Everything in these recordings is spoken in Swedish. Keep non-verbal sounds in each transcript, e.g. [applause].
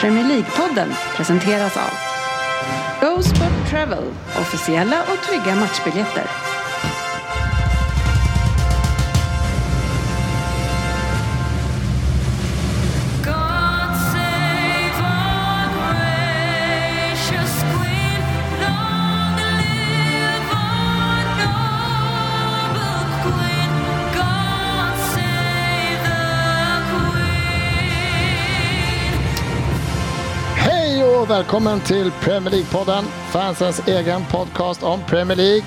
Premier League-podden presenteras av Go Sport Travel, officiella och trygga matchbiljetter. God save our gracious Queen. Long live our noble Queen. God save the Queen. Hej och välkommen till Premier League-podden, fansens egen podcast om Premier League.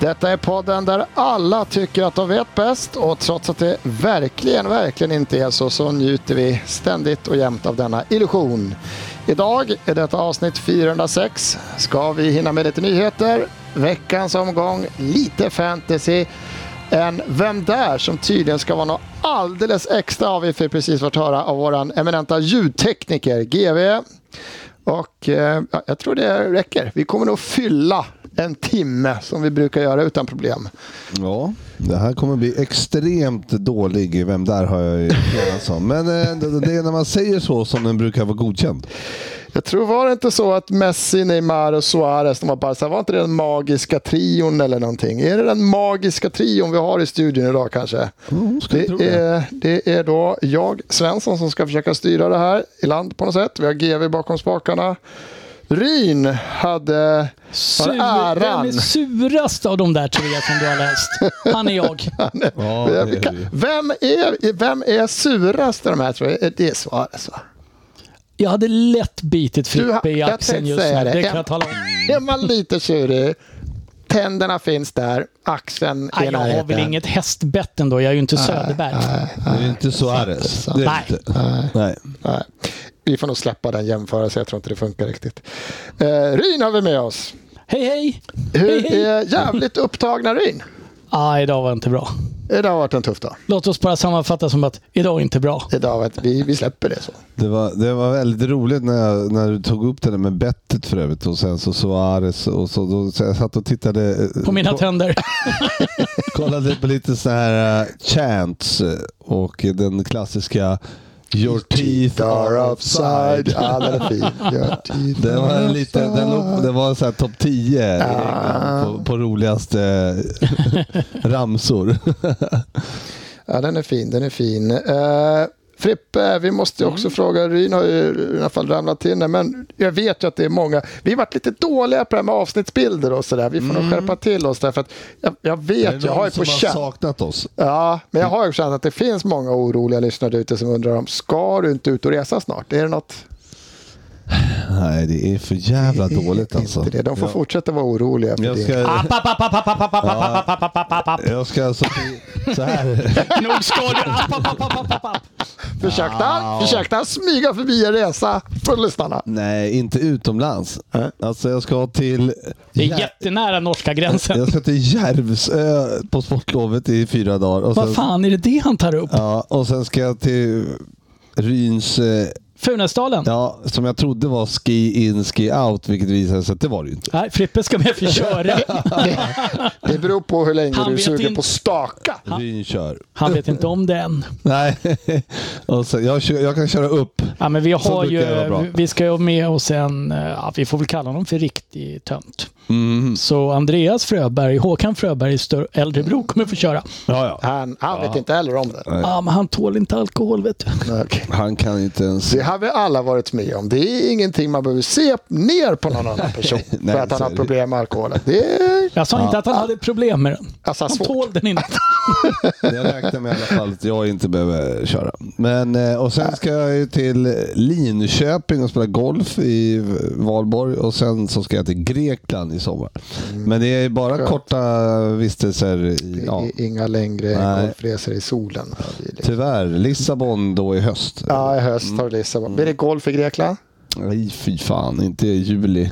Detta är podden där alla tycker att de vet bäst och trots att det verkligen, verkligen inte är så, så njuter vi ständigt och jämt av denna illusion. Idag är detta avsnitt 406. Ska vi hinna med lite nyheter, veckans omgång, lite fantasy, en Vem där? som tydligen ska vara något alldeles extra har vi för precis fått höra av våran eminenta ljudtekniker GV. Och eh, ja, jag tror det räcker. Vi kommer nog fylla en timme som vi brukar göra utan problem. Ja, det här kommer bli extremt dålig. Vem där har jag ju enats om. Men eh, det det är när man säger så som den brukar vara godkänd. Jag tror var det inte så att Messi, Neymar och Suarez, de var bara så här, var inte det den magiska trion eller någonting? Är det den magiska trion vi har i studion idag kanske? Mm, skulle Det tro det. är, det är då jag, Svensson, som ska försöka styra det här i land på något sätt. Vi har GV bakom spakarna. Ryn hade... Sur, Har äran. vem är surast av de där tre som du har läst? Han är jag. Ja, det vi är kan- det ju. Vem är, vem är surast av de här tror jag? Det är Suarez va? Jag hade lätt bitit Du har- Frippe i jag axeln tänkte just säga nu. det. Det kan En- jag tala om. Är man lite tjurig, tänderna finns där, axeln är Nej, i jag har väl närheten. inget hästbett ändå. Jag är ju inte Söderberg. Det är inte Suarez. Det är Nej. det inte. Nej. Nej, vi får nog släppa den jämförelsen, jag tror inte det funkar riktigt. Eh, Ryn har vi med oss. Hej, hej! Hej, Hur hej. är jävligt upptagna Ryn? Ah, idag var inte bra. Idag har varit en tuff dag. Låt oss bara sammanfatta som att idag är inte bra. Idag har varit, vi, vi släpper det så. Det, var, det var väldigt roligt när, jag, när du tog upp det där med bettet för övrigt och sen så Suarez och så. Då, så jag satt och tittade. eh, På mina ko- [laughs] tänder. Kollade på lite så här eh, chants eh, och den klassiska Your teeth are offside. Ja, den är fin. [laughs] Your teeth Det var are en liten, den, låg- offside. det var så här topp 10 på, på roligaste eh, [laughs] ramsor. Ja, den är fin. Den är fin. Eh, Frippe, vi måste ju också Mm. fråga. Ryn har ju i alla fall ramlat in här, men jag vet ju att det är många. Vi har varit lite dåliga på det här med avsnittsbilder och sådär. Vi får nog skärpa till oss där, för att jag, jag Är Mm. det vet, jag har ju någon på som har känn. saknat oss? Ja, men jag har ju känt att det finns många oroliga lyssnare ute som undrar om ska du inte ut och resa snart? Är det något? Nej, det är för jävla dåligt Inte alltså. Det. De får Jag- fortsätta vara oroliga. För Jag det. Ah, ska, App, app, app, app, app, app, app, app, app, app, app, app, app, app. jag ska alltså så här. [laughs] Nog ska du... App, app, app, app, app, app. Försökte, han, försökte han smyga förbi en resa för lyssnarna? [laughs] Nej, inte utomlands. Äh? Alltså jag ska till... Det Jär- är jättenära norska gränsen. Jag ska till Järvsö på sportlovet i fyra dagar. Och Vad sen, fan är det det han tar upp? ja, och sen ska jag till Ryns eh, Funäsdalen? Ja, som jag trodde var ski in, ski out, vilket visade sig att det var det ju inte. Nej, Frippe ska med [laughs] för köra. Det beror på hur länge Han du vet suger inte. på staka. Ryn kör. Han vet inte om det än. Nej, [laughs] och så, jag, kör, jag kan köra upp. Ja, men vi, Så har brukar det ju, vara bra. vi ska ju ha med oss en, eh, ja, vi får väl kalla honom för riktig tönt. Mm. Så Andreas Fröberg, Håkan Fröberg, stör- äldre bror, kommer få köra. Ja, ja. Han, han vet inte heller om det. Ja, men han tål inte alkohol vet du. Okej. Han kan inte ens... Det har vi alla varit med om. Det är ingenting man behöver se ner på någon annan person [laughs] Nej, för att han så har är det. problem med alkoholen. Det är Jag sa inte att han hade problem med den. alltså, Han svårt. tål den inte. Jag räknar med i alla fall att jag inte behöver köra. Men, eh, och sen ska jag ju till Linköping och spela golf i Valborg och sen så ska jag till Grekland i sommar. Men det är ju bara korta vistelser. Mm. I, ja, I- Inga längre Nej. golfresor i solen. tyvärr. Lissabon då i höst. Ja, i Mm. höst har du Lissabon. Blir det golf i Grekland? [laughs] Nej, fy fan. Inte i juli.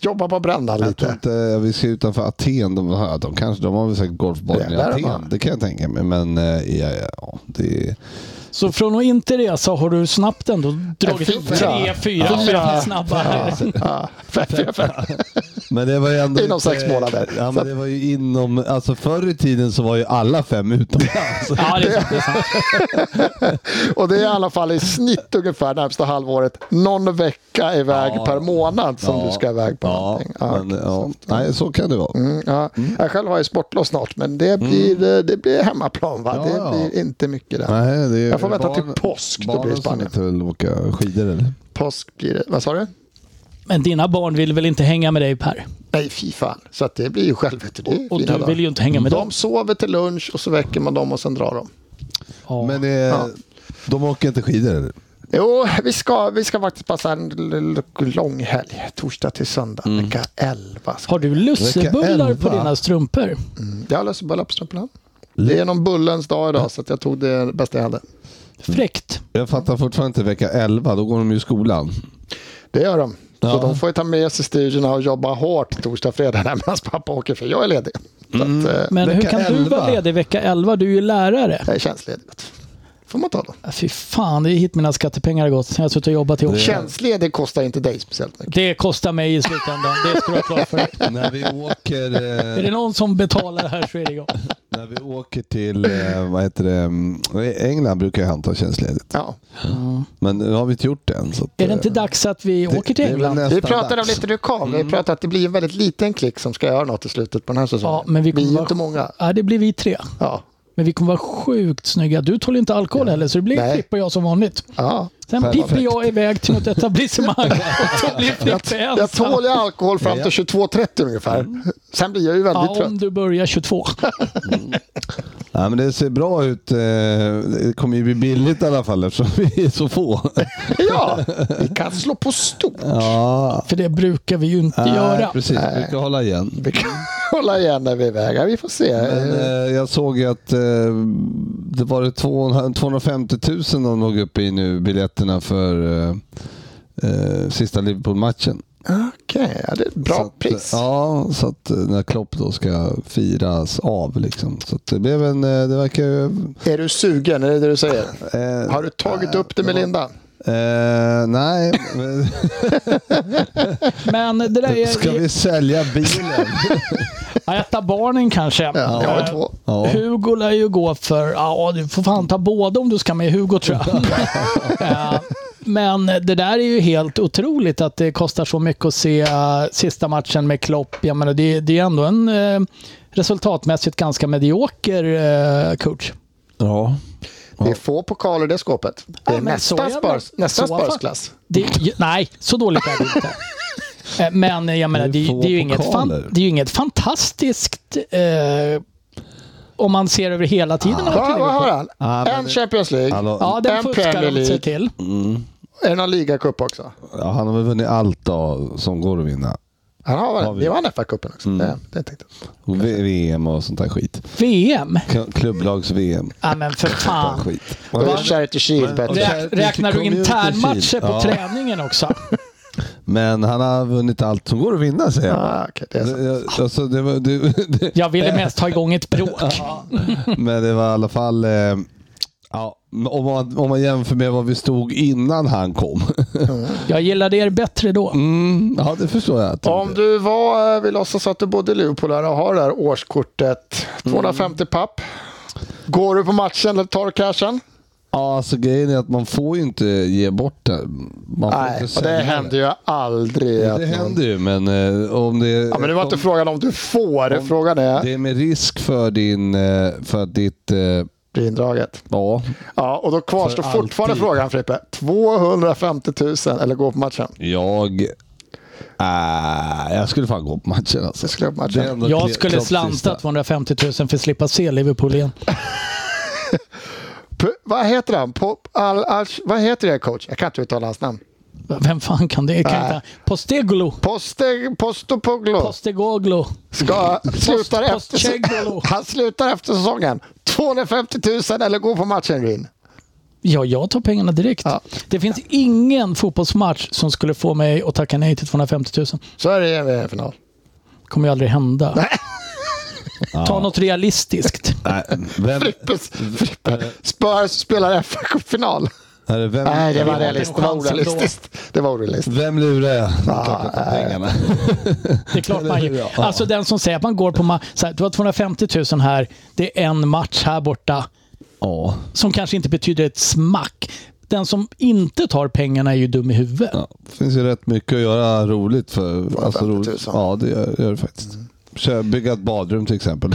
Jobba på brännan Jag tror lite. inte vi ser utanför Aten. De har, de kanske, de har väl säkert golfbollen i Jävlar, de Aten. har. Det kan jag tänka mig. Men eh, ja, ja, ja, det, Så från att inte resa har du snabbt ändå dragit upp fyra. tre, fyra, fem snabba. [laughs] Ja, fem, fem, fem. Men det var ju [laughs] ändå Inom inte- sex månader. Ja, men det var ju inom, alltså förr i tiden så var ju alla fem utomlands. Ja, det är sant, det är sant. Och det är i alla fall i snitt ungefär närmsta halvåret någon vecka iväg Ja. per månad [laughs] som Ja. du ska iväg på ja, någonting. Ja, men, ja. Nej, så kan det vara. Mm, ja. Jag själv har ju sportlov snart, men det blir, eh, det blir hemmaplan. Va? Mm. Ja, det ja. blir inte mycket där. Nej, det är Jag får vänta till barn- påsk, då barnen blir det som Spanien. inte vill åka skidor eller? Påsk blir det. Vad sa du? Men dina barn vill väl inte hänga med dig Per? Nej, fy fan. Så att det blir ju själv. vet du, det är Och fina du dagar. vill ju inte hänga med dem. De sover till lunch och så väcker man dem och sen drar de. Ja. Men det, de åker inte skidor eller? Jo, vi ska, vi ska faktiskt passa en l- l- lång helg. Torsdag till söndag, Mm. vecka 11. Ska- Har du lussebullar på elva. dina strumpor? Mm. Jag har lösbullar på strumporna. Det är någon bullens dag idag så att jag tog det bästa jag hade. Fräckt. Jag fattar fortfarande inte vecka 11, då går de ju i skolan. [laughs] Det gör de. Ja. Så de får ju ta med sig studierna och jobba hårt torsdag, fredag [laughs] när medan pappa åker för jag är ledig. Mm. Så att, eh, Men hur Vecka kan du elva? vara ledig vecka 11? Du är ju lärare. jag är tjänstledig. vet du. får man ta då. Fy fan, det är hit mina skattepengar har gått. Jag har suttit och jobbat ihop. Tjänstledig kostar inte dig speciellt mycket. Det kostar mig i slutändan. Det ska du [laughs] ha klart för dig. när, vi åker, Är det eh, någon som betalar det här så är det jag. när vi åker till eh, vad heter det? mm, England brukar ju han ta tjänstledigt. Ja. Men nu har vi inte gjort det än. Så att, Är eh, det inte dags att vi det- åker till det är väl England? nästan Vi pratade om dags. Mm. lite rekal. Vi pratade att det blir en väldigt liten klick som ska göra något i slutet på den här säsongen. Ja, men vi kommer är ju vara- inte många. Ja, det blir vi tre. Ja. Men vi kommer vara sjukt snygga. Du tål inte alkohol heller, så det blir Nej. Frippe och jag som vanligt. Ja. Sen Perfekt. piper jag iväg till något etablissemang [laughs] och så blir Frippe Jag tål Alltså. ensam. ju alkohol fram till 22.30 ungefär. Mm. Sen blir jag ju väldigt Ja, trött. [laughs] om du börjar 22. Nej, men det ser bra ut. eh, Det kommer ju bli billigt i alla fall eftersom vi är så få. [laughs] Ja, vi kan slå på stort. ja, För det brukar vi ju inte göra. precis. Vi ska hålla igen. Vi kan [laughs] hålla igen när vi är iväg. Ja, Vi får se. Men eh, jag såg ju att eh, det var det 250 000 de låg upp i nu, biljetterna för eh, eh, sista Liverpool-matchen. Okej, ja, det är ett bra så att, pris. Ja, så att eh, när Klopp då ska firas av. Liksom. Så att det blev en, eh, det verkar ju... Är du sugen? Är det det du säger? eh, Har du tagit upp det med Linda? Eh, nej, [laughs] men Men det [laughs] där ska är... vi sälja [laughs] bilen? Ja, Äta barnen kanske. Jag Eh, har två. Ja. Hugo lär ju gå för, ja du får fan ta båda om du ska med Hugo tror [laughs] jag. Eh, Men det där är ju helt otroligt att det kostar så mycket att se eh, sista matchen med Klopp. Jag menar, det, det är ändå en eh, resultatmässigt ganska medioker eh, coach. ja. Det är få pokaler i det skåpet. Det är Ja, men så nästa, jävla- spars, nästa så fa- sparsklass. Det, ju- nej, så dåligt är det [laughs] inte. Eh, Men jag menar, Det det, är är- få det, är, ju inget pokaler. fan, det är ju inget fantastiskt eh, om man ser över hela tiden. Ah. av Vad vad har Liverpool. han? Ja, men en det- Champions League. Hallå. Ja, En den fuskar Premier de sig League. till. Är det någon ligacup också? Ja, han har väl vunnit allt då, som går att vinna. Han har, Har vi. Mm. vi vann FA-cupen också. Det, det tänkte jag. Och V- VM och sånt där skit. VM? K- Klubblags-VM. Ja, men för fan. Skit. Och det är Charity Shield. bättre. Okej. Rä- Räknar du Community internmatcher på Shield. Ja. träningen också? Men han har vunnit allt som går att vinna, säger jag. Ah, okej, det är sant. Det- jag- Alltså, det var, det, det, [laughs] Jag ville mest ha igång ett bråk. men det var i alla fall... Eh, ja, om, man, om man jämför med vad vi stod innan han kom. [laughs] Jag gillade er bättre då. Mm, ja, det förstår jag. att- Om du var, vi låtsas att du bodde i Liverpool här och har det här årskortet. Mm. 250 papp. Går du på matchen eller tar du cashen? Ja, alltså grejen är att man får ju inte ge bort det. Man får Nej, och inte det sälja händer ju aldrig. Det, att det någon- händer ju, men eh, om det... Ja, men det var inte frågan om du får, Om- frågan är Det är med risk för din... eh, För att ditt... eh, blir indraget. Ja. Ja, och då kvarstår För fortfarande alltid. frågan Frippe. 250 000 eller gå på matchen? Jag... Äh, jag skulle fan gå på matchen alltså. Det skulle jag på Det är matchen. ändå Jag Kle- skulle Klopps slanta sista. 250 000 för att slippa se Liverpool igen. P- vad heter han? Pop, al, al, vad heter det coach? Jag kan inte uttala hans namn. Vem fan kan det? Kan inte. Postegolo. Poste, Postopoglo Postegoglo. ska slutar Postchegolo. efter, [laughs] han slutar efter säsongen. 250 000 eller gå på matchen Green. Ja, jag tar pengarna direkt. Ja. Det finns ingen fotbollsmatch som skulle få mig att tacka nej till 250 000. Så är det i en final. kommer ju aldrig hända. Ta något realistiskt. Nej, vem, Frippe, Frippe. Spurs spelar FA-cupfinal. Är det vem, Nej, det var hade en realistiskt. Det var chans ändå. orealistiskt. Det var orealistiskt. Vem lurar jag? Ah, Ah, pengarna. Det är klart man Ja. [laughs] gör. Alltså den som säger att man går på ma- så här, du har 250 000 här, det är en match här borta Ja. som kanske inte betyder ett smack. Den som inte tar pengarna är ju dum i huvudet. ja. Det finns ju rätt mycket att göra roligt för. Alltså, 50 000. roligt. Ja, det gör, gör det faktiskt. Kör, bygga ett badrum till exempel.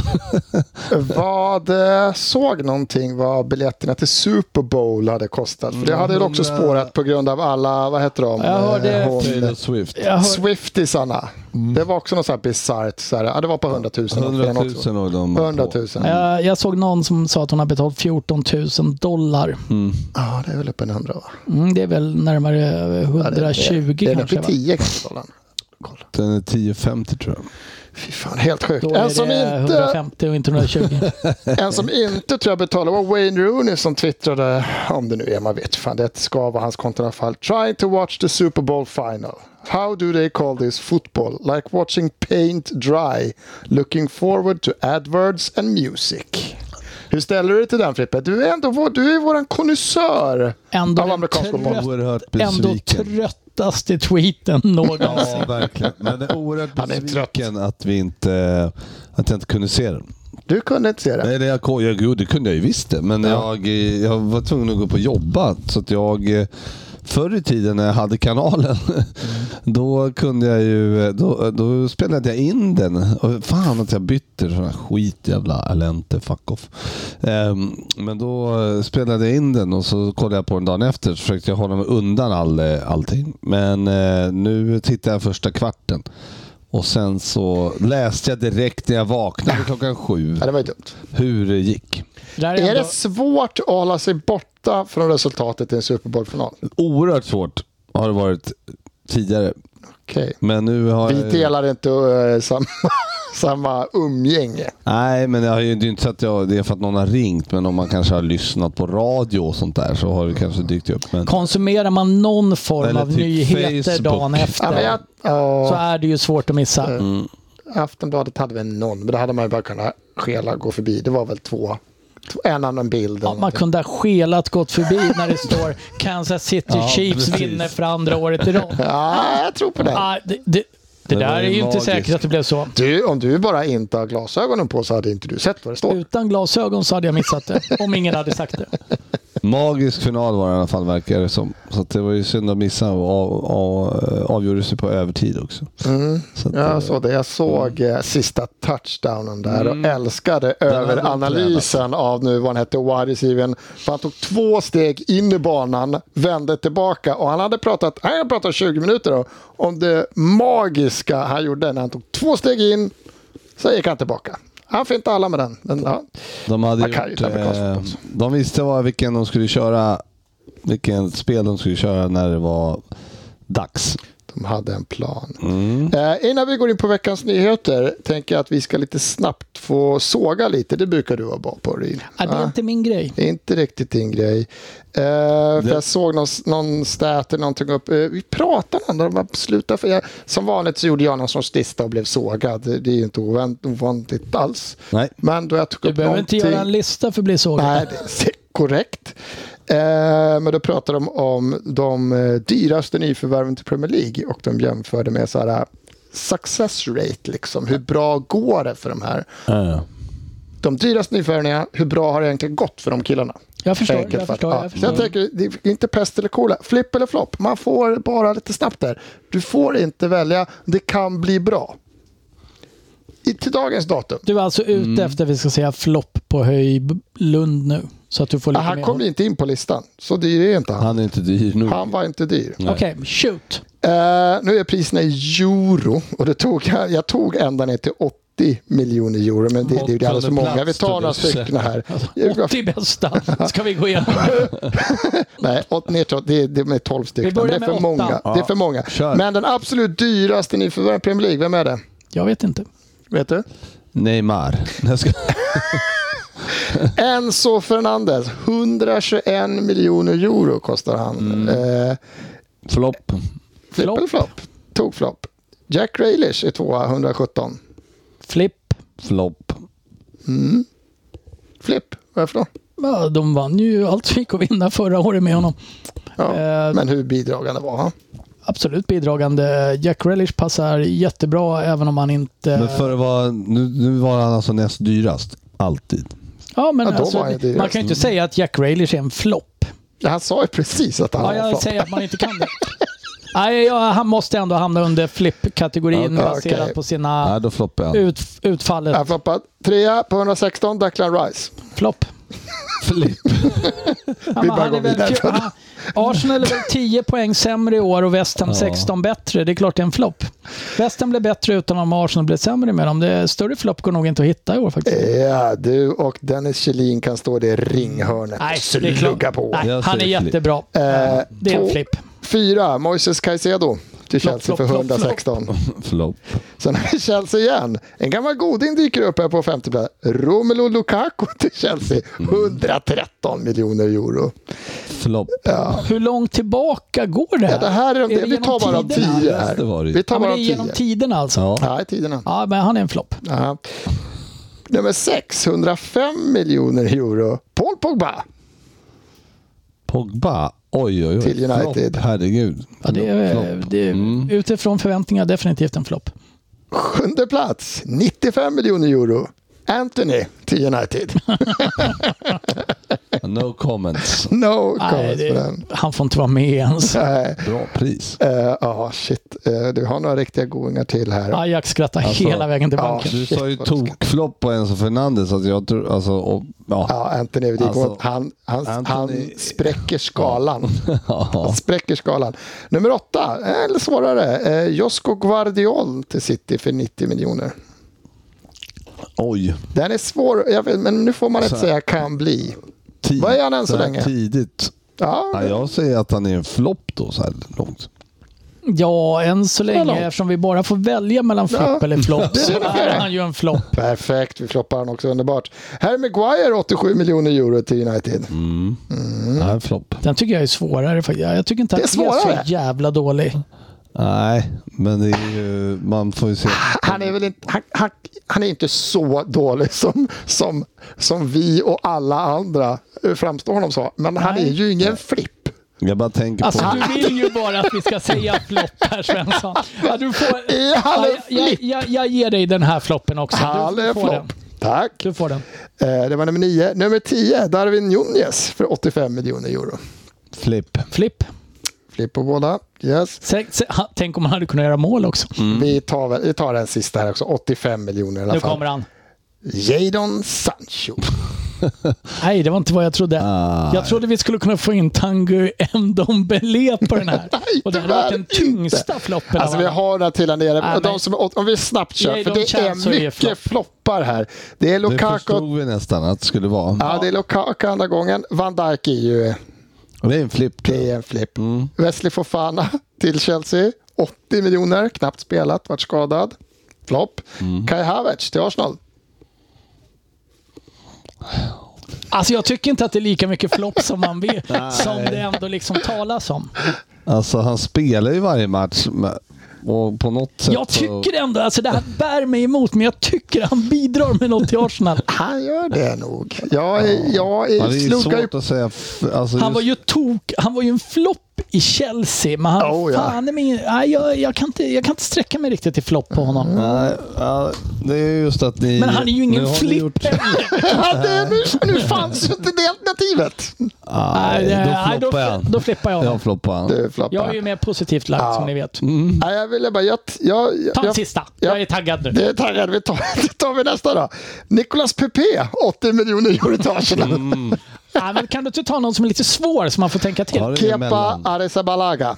Vad eh, såg någonting vad biljetterna till Super Bowl hade kostat? För det hade ju också Mm. spårat på grund av alla, vad heter de? Jag hörde- Eh, hon- [laughs] Taylor Swift. Jag hör, Mm. Swiftisarna. Det var också något så här bisarrt. så här, Ja, det var på 100 000. 100 000 också. och de 100 000. Ja, jag, Eh, jag såg någon som sa att hon har betalat 14 000 dollar. Mm. det är väl uppe en 100 va? Mm, det är väl närmare Ja, det är- 120 det är uppe kanske. i va? 10 kanske. dollarn. Kolla. Den är 10,50 tror jag. Fy fan, helt sjukt. Då En som, är det inte, 150 och inte 120. [laughs] en som inte tror jag betalade var Wayne Rooney som twittrade, om det nu är, man vet fan, det ska vara hans konto i alla fall. Trying to watch the Super Bowl final. How do they call this football? Like watching paint dry. Looking forward to adverts and music. Hur ställer du dig till den Frippe? Du är ändå vår, du är våran konnässör Ändå av den amerikansk fotboll. trött- Oerhört Ändå besviken. tröttaste tweeten någonsin. Ja, verkligen. Men det är oerhört Han är trött. besviken att, vi inte, att jag inte kunde se den. Du kunde inte se det. Nej, det, jag, jag, jo, det kunde jag ju visst det. Men jag, eh, jag var tvungen att gå upp och jobba. Så att jag, eh, förr i tiden när jag hade kanalen, [laughs] då kunde jag ju... eh, Då, då spelade jag in den. Och fan att jag bytte sån här skit jävla alente fuck off. Ehm, men då eh, spelade jag in den och så kollade jag på den dagen efter. Så försökte jag hålla mig undan all, eh, allting. Men eh, nu tittar jag första kvarten. Och sen så läste jag direkt när jag vaknade klockan sju Ja, det var ju dumt. hur det gick. Det där Är ändå- det svårt att hålla sig borta från resultatet i en Super Bowl-final? Oerhört svårt har det varit tidigare. Okej. Men nu har Vi jag- delar inte eh, samma, [laughs] samma umgänge. Nej, men jag har ju, det är ju inte så att jag, det är för att någon har ringt, men om man kanske har lyssnat på radio och sånt där så har det kanske dykt upp. Men Konsumerar man någon form Eller av typ nyheter Facebook. dagen Ja, efter men jag, så ja, är det ju svårt att missa. Aftonbladet hade väl någon, men det hade man ju bara kunnat skela gå förbi. Det var väl två. två- En annan bild. Ja, man kunde ha skelat gått förbi när det står Kansas City Ja, Chiefs precis. vinner för andra året i rad. ja, jag tror på det. Ah, det, det, det Det där var är ju ju inte magiskt. säkert att det blev så. Du, om du bara inte har glasögonen på så hade inte du sett vad det står. Utan glasögon så hade jag missat det, om ingen hade sagt [laughs] det. magisk final var det i alla fall, verkar det som. Så att det var ju synd att missa och av, av, avgjordes ju på övertid också. Så att, eh, Jag såg det. Jag såg eh, sista touchdownen där och älskade överanalysen av nu vad han hette, wide receivern. För han tog två steg in i banan, vände tillbaka och han hade pratat, han hade pratat 20 minuter då, om det magiska han gjorde när han tog två steg in, sen gick han tillbaka. Han fintade alla med den. Men, ja. De hade Man kan ju gjort, ta amerikansk eh, fotboll De visste vad, vilken de skulle köra, vilken spel de skulle köra när det var dags. De hade en plan. Eh, innan vi går in på veckans nyheter tänker jag att vi ska lite snabbt få såga lite. Det brukar du vara bra på, Ryn. Ah, det är inte min grej. Det är inte riktigt din grej. Eh, för jag såg någon, någon stat eller någonting upp. Eh, vi pratade om det. de bara slutade För jag, som vanligt så gjorde jag någon sorts lista och blev sågad. Det, det är ju inte ovänt, ovanligt alls. Nej. Men då jag tog Du upp behöver inte någonting. göra en lista för att bli sågad. Nej, det är korrekt. Eh, men då pratade de om de eh, dyraste nyförvärven till Premier League och de jämförde med så här, eh, success rate, liksom. hur bra går det för de här? De dyraste nyförvärven, hur bra har det egentligen gått för de killarna? Jag förstår, Enkelt jag för att- förstår, ja. jag Så jag förstår. tänker, det är inte pest eller kola. Flipp eller flopp. Man får bara lite snabbt där. Du får inte välja. Det kan bli bra. I, till dagens datum. Du är alltså ute Mm. efter att vi ska säga flopp på Höjlund nu. Så att du får Ah, lite Han mer. kom ju inte in på listan. Så dyr är inte han. Han är inte dyr nog. Han var inte dyr. Okej, shoot. Eh, nu är priserna i euro. Och det tog, jag jag tog ända ner till 80 miljoner euro. Men det, det är ju alldeles för många. Vi tar några stycken [laughs] här. 80 [laughs] bästa ska vi gå igenom. Nej, åt, ner till, det, är- det är med 12 stycken. Vi börjar Det är med för åtta. många. Det är för många. kör. Men den absolut dyraste nyförvärven i Premier League, vem är det? Jag vet inte. Vet du? Neymar. [laughs] Jag ska... Enzo Fernandez, 121 miljoner euro kostar han. Eh, Flopp. flipp eller flopp? Tog flopp. Jack Grealish är tvåa, 117. Flipp. Flopp. Mm. Flipp, varför då? ja, de vann ju allt som gick att vinna förra året med honom. Ja. Eh, Men hur bidragande var han? Absolut bidragande. Jack Relish passar jättebra även om han inte... Men för att vara, nu, nu var han alltså näst dyrast. Alltid. ja, men Ja, då alltså, var jag dyrast. man kan ju inte säga att Jack Relish är en flopp. Ja, han sa ju precis att han Ja, var jag flott. säger att man inte kan det. Nej, ja, han måste ändå hamna under flipp-kategorin Okej. baserat på sina Nej, då floppade han. ut, utfallet. Han floppade trea på 116, Declan Rice. Flopp. Flipp. Ja, Vi men bara han går är väl vidare. fj- han- Arsenal är väl 10 poäng sämre i år och West Ham 16 bättre. Det är klart det är en flopp. West Ham blev bättre utan dem och Arsenal blev sämre med dem. Det är större flopp går nog inte att hitta i år faktiskt. Ja, du och Dennis Kjellin kan stå i det ringhörnet Nej, och det är slugga klart. på. Nej, Jag han är säger flipp. jättebra. Eh, Det är en två- flipp. Fyra, Moises Caicedo till Flopp, Chelsea flopp, för flopp, 116. [laughs] Flopp. Sen har vi Chelsea igen. En gammal goding dyker upp här på femte plats. Romelu Lukaku till Chelsea. 113 miljoner euro. Flopp. Hur långt tillbaka går det här? Ja, det här är, de- det vi tar genom bara de tiderna? tio Det här. var det ju. Vi tar Ja, men bara det är de genom tio. tiderna alltså. Ja. Ja. Nej, tiderna. men han är en flopp. Ja. Nummer sex, 105 miljoner euro. Paul Pogba. Pogba. Oj, oj, oj. Till United. Flopp. Herregud. Ja, det är, Flopp. det är, Mm. Utifrån förväntningar definitivt en flopp. Sjunde plats, 95 miljoner euro. Anthony till [laughs] United. No comments. No Nej, comments på det, den. han får inte vara med ens. Nej. Bra pris. Eh, Ja, shit. Eh, Du har några riktiga goingar till här. Ajax skrattar Alltså, hela vägen till ja. banken. Du Shit, sa ju vad det ska- tokflopp på Enzo Fernandes. Alltså, jag tror, alltså, och, ja. Ja, Anthony Evedic, Alltså, han, han, Anthony- han spräcker [laughs] skalan. Ja. Han spräcker skalan. Nummer åtta, eh, eller svårare, eh, Josko Guardiol till City för 90 miljoner. Oj. Den är svår, jag vet, men nu får man inte Så här- säga kan bli. Tid. Vad är han än så här länge? Tidigt. Ja, Ja, jag säger att han är en flopp då så här långt. Ja, än så länge, långt. eftersom vi bara får välja mellan flopp eller flopp Det är så det vi gör. är han ju en flopp. Perfekt, vi floppar han också, underbart. Harry Maguire, 87 miljoner euro till United. Nej, en flopp. Den tycker jag är svårare. faktiskt. Jag tycker inte Det är att han är så svårare. jävla dålig. Nej, men det är ju, man får ju se. Han är väl inte, han, han, han är inte så dålig som, som, som vi och alla andra eh, framstår honom så. Men han Nej. är ju ingen flipp. Jag bara tänker Alltså, på... du vill ju bara att vi ska säga flopp här, Svensson. Ja, du får... Är han ja, en jag, jag, flipp? jag, jag ger dig den här floppen också. Han Du, är du, får den. flopp. Tack. du får den. Eh, Det var nummer nio. Nummer tio, Darwin Nunez för 85 miljoner euro. Flipp. Flipp. Flipp på båda. Yes. Sä- sä- ha- Tänk om han hade kunnat göra mål också. Vi, tar, väl- vi tar den sista här också, 85 miljoner i alla Nu fall. kommer han. Jadon Sancho. Nej, det var inte vad jag trodde. Ah. Jag trodde vi skulle kunna få in Tanguy Ndombele på den här. [laughs] Nej, Och det hade varit tyvärr den tyngsta inte. floppen. av Alltså vi alla. har den till här nere. Nej, de men- som, om vi snabbt kör, för Jadon det Sancho är är mycket flopp. floppar här. Det är Det Lukaku. förstod vi nästan att det skulle vara. Ja, det är Lukaku andra gången. Van Dijk är ju Det är en flipp. tror jag. det är en flipp. Mm. Wesley Fofana [laughs] till Chelsea. 80 miljoner, knappt spelat, varit skadad. Flopp. Mm. Kai Havertz till Arsenal. Alltså jag tycker inte att det är lika mycket flopp som [laughs] man vill, som det ändå liksom talas om. Alltså han spelar ju varje match. men- Och på något sätt Jag tycker ändå, alltså det här bär mig emot, men jag tycker han bidrar med något till Arsenal. Han gör det nog. Jag, är- jag Ja, är, det är ju sluggar ju svårt att säga. f- Alltså, Han var ju tok, han var ju en flopp i Chelsea, men han, Oh, ja. fan, min, nej, jag, jag, kan inte, jag kan inte sträcka mig riktigt till flopp på honom. Nej, ja, det är ju just att ni... Men han är ju Mm. nu ingen har ni flipp gjort- heller. [laughs] Ja, det, nu, nu fanns ju inte det alternativet. [laughs] Nej, Nej, då nej, då floppar jag. fl- då flippar jag. Jag floppar han. Du, Floppa. Jag är ju mer positivt lagd som ni vet. Mm. Nej, jag ville bara... Jag, jag, jag, Ta en jag, sista. ja. Jag är taggad nu. det är taggad. Vi tar, [laughs] det tar vi nästa då. Nicolas Pepe, 80 miljoner euro till Arsenal. Mm, Nej, men kan du inte ta någon som är lite svår så man får tänka till? Ja, det är Kepa emellan. Arrizabalaga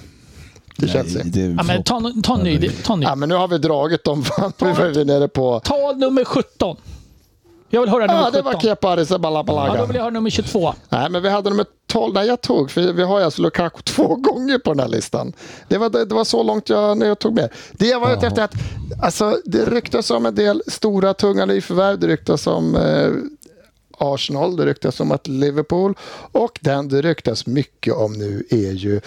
till Chelsea. Nej, det är Ja, men flopp. ta, no- ta en ny. Ta, en ny. Ja, men nu har vi dragit dem. [laughs] Fan, Nu är vi nere på... ta nummer 17. Jag vill höra nummer Ja, 17. det var Kepa Ja, då vill Arrizabalaga. jag höra nummer 22. Nej, men vi hade nummer 12. Nej, jag tog. För vi har ju alltså Lukaku [laughs] två gånger på den här listan. Det var, det, det var så långt jag, när jag tog med. Det jag var ute efter är att alltså, det ryktas om en del stora tunga nyförvärv. Det ryktas om eh, Arsenal, det ryktas om att Liverpool och den det ryktas mycket om nu är ju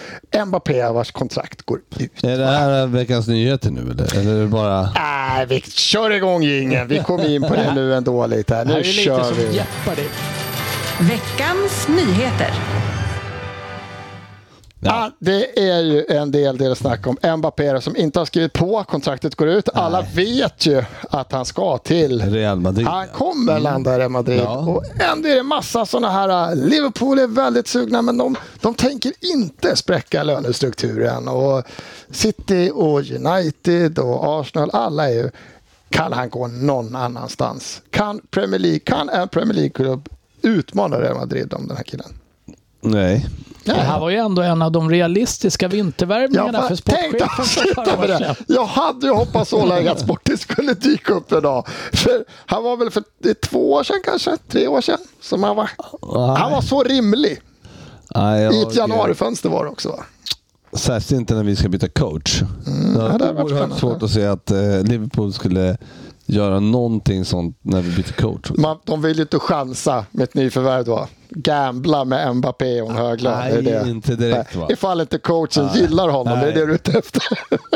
Mbappé vars kontrakt går ut. Är det här veckans nyheter nu eller? Eller är det bara... Nej, Äh, vi kör igång ingen. Vi kommer in på det nu ändå lite. Här. Det här Nu är ju lite kör som vi. Jeopardy. Veckans nyheter. Ah, det är ju en del del snack om Mbappé som inte har skrivit på. Kontraktet går ut. Alla vet ju att han ska till Real Madrid. Han kommer landa i Real Madrid. Ja. Och ändå är det massa sådana här... äh, Liverpool är väldigt sugna, men de, de tänker inte spräcka lönestrukturen. Och City och United och Arsenal, alla är ju... Kan han gå någon annanstans? Kan, Premier League, kan en Premier League-klubb utmana Real Madrid om den här killen? Nej. Det här var ju ändå en av de realistiska vintervärvningarna Jag för tänkte sportchefen för ett avsluta med par år det. sedan. Jag hade ju hoppats så länge att Sportis skulle dyka upp idag. För han var väl för det är två år sedan kanske, tre år sedan. Som han, var. han var så rimlig. Nej, jag- I ett januarifönster var det också. Va? Särskilt inte när vi ska byta coach. det Mm, ja, det hade varit är oerhört spännande. svårt att se att eh, Liverpool skulle göra någonting sånt när vi byter coach. Man, de vill ju inte chansa med ett nyförvärv då. Gambla med Mbappé och en hög lön. Nej, det är det. inte direkt, Nej, va? Ifall inte coachen gillar honom, det Nej. är det du är ute efter.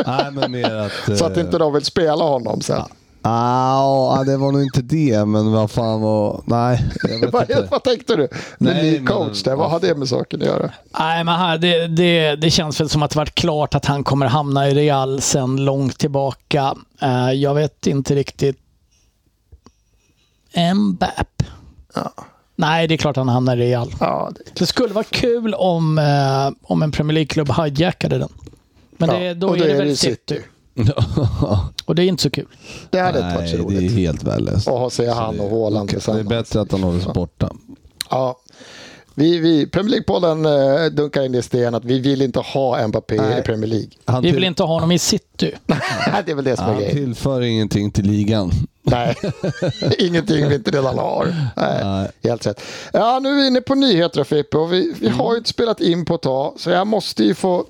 Nej, men mer [laughs] att... Så att inte de vill spela honom sen. Ah, ja, det var nog inte det, men vad fan var... Nej, jag [laughs] vet Vad, inte. vad tänkte du? Med Nej, ny men- coach, där, vad har det med saken att göra? Nej, men här, det, det, det känns väl som att det varit klart att han kommer hamna i Real sen långt tillbaka. Eh, jag vet inte riktigt. Mbapp. Nej, det är klart han hamnar i Real. Ja, det Det skulle vara kul om, eh, om en Premier League-klubb hijackade den. Men det, Ja, då och är det väl City. City. [laughs] Och det är inte så kul. Det hade inte varit Nej, så det är roligt. helt värdelöst. Och ha se han och Haaland Det är tillsammans. bättre att han håller sig borta. Ja. Vi, vi, Premier League-podden eh, dunkar in i sten att vi vill inte ha Mbappé i Premier League. Han, Vi vill till- inte ha honom i city. det är väl det som är han grejen. tillför ingenting till ligan. [laughs] Nej, ingenting vi inte redan har. Nej, Helt rätt. Ja, nu är vi inne på nyheter Frippe och vi, vi har ju Mm. inte spelat in på ett tag så jag måste ju få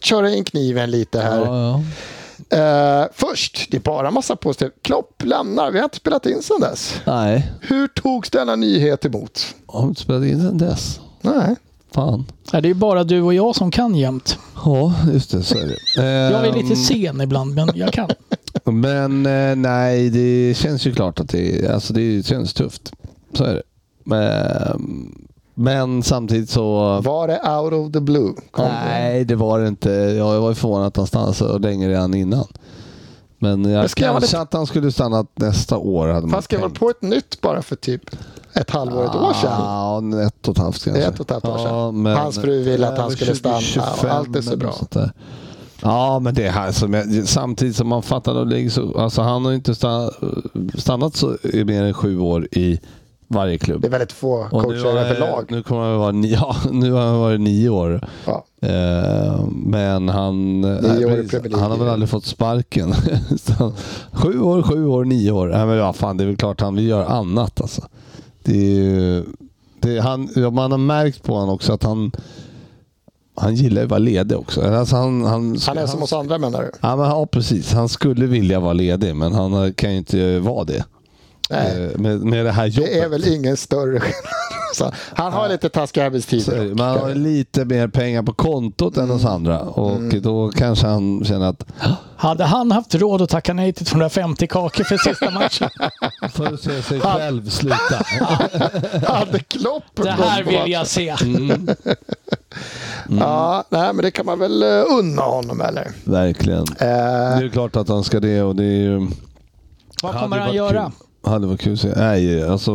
köra in kniven lite här. Ja, Eh, först, det är bara massa positivt. Klopp lämnar, vi har inte spelat in sedan dess. Nej, Hur togs denna nyhet emot? har inte spelat in sen dess. Nej. Fan. Ja, Det är bara du och jag som kan jämt. Ja, just det. Så är det. Jag är lite Ehm, sen ibland, men jag kan. Men eh, nej, det känns ju klart att det, alltså det känns tufft. Så är det. Ehm, Men samtidigt så... Var det out of the blue? Kom Nej, det var det inte. Jag var ju förvånad att han stannade så länge redan innan. Men jag Men ska jag vara kanske lite- att han skulle stannat nästa år. Hade man Fan, skrev väl tänkt. på ett nytt bara för typ ett halvår, ett Ah. år sedan? Ja, ett och ett halvt kanske. Ett och ett halvt år sedan. Ja, men- Hans fru ville att han Över skulle stanna och 2025 allt är så eller bra. sånt där. Ja, men det här som jag, samtidigt som man fattar och ligger så, alltså han har ju inte stannat, stannat så i mer än sju år i varje klubb. Det är väldigt få Och coacher har jag- överlag. Nu kommer han vara nio, [laughs] ja, nu har han varit nio år. Ja. Eh, men han, eh, Nio år i precis. Premier League. han har väl aldrig fått sparken. [laughs] Så han- sju år, sju år, nio år. Nej, men ja, fan, det är väl klart han vill göra annat. Alltså. Det är ju, det, han, ja, man har märkt på honom också att han, han gillar ju att vara ledig också. Alltså han, han, Han är som oss andra menar du? Ja, men, ja, precis. Han skulle vilja vara ledig, men han kan ju inte vara det. Nej. Eh, Med, med det här jobbet. Det är väl ingen större skillnad. [laughs] Så Han har lite Mm. taskiga Så är arbetstider. det. Man har lite mer pengar på kontot än oss andra och då kanske han känner att Hade han haft råd att tacka nej till 250 kakor för [laughs] sista matchen? för att se sig själv sluta. [laughs] Hade [laughs] Klopp Det här gått på vill matchen? jag se. Mm. Mm. Ja, nej, men det kan man väl eh, unna honom eller? Verkligen. Det Eh, är ju klart att han ska det och det är ju... Vad hade kommer han varit göra? Kul. Hade varit kul att se. Nej, alltså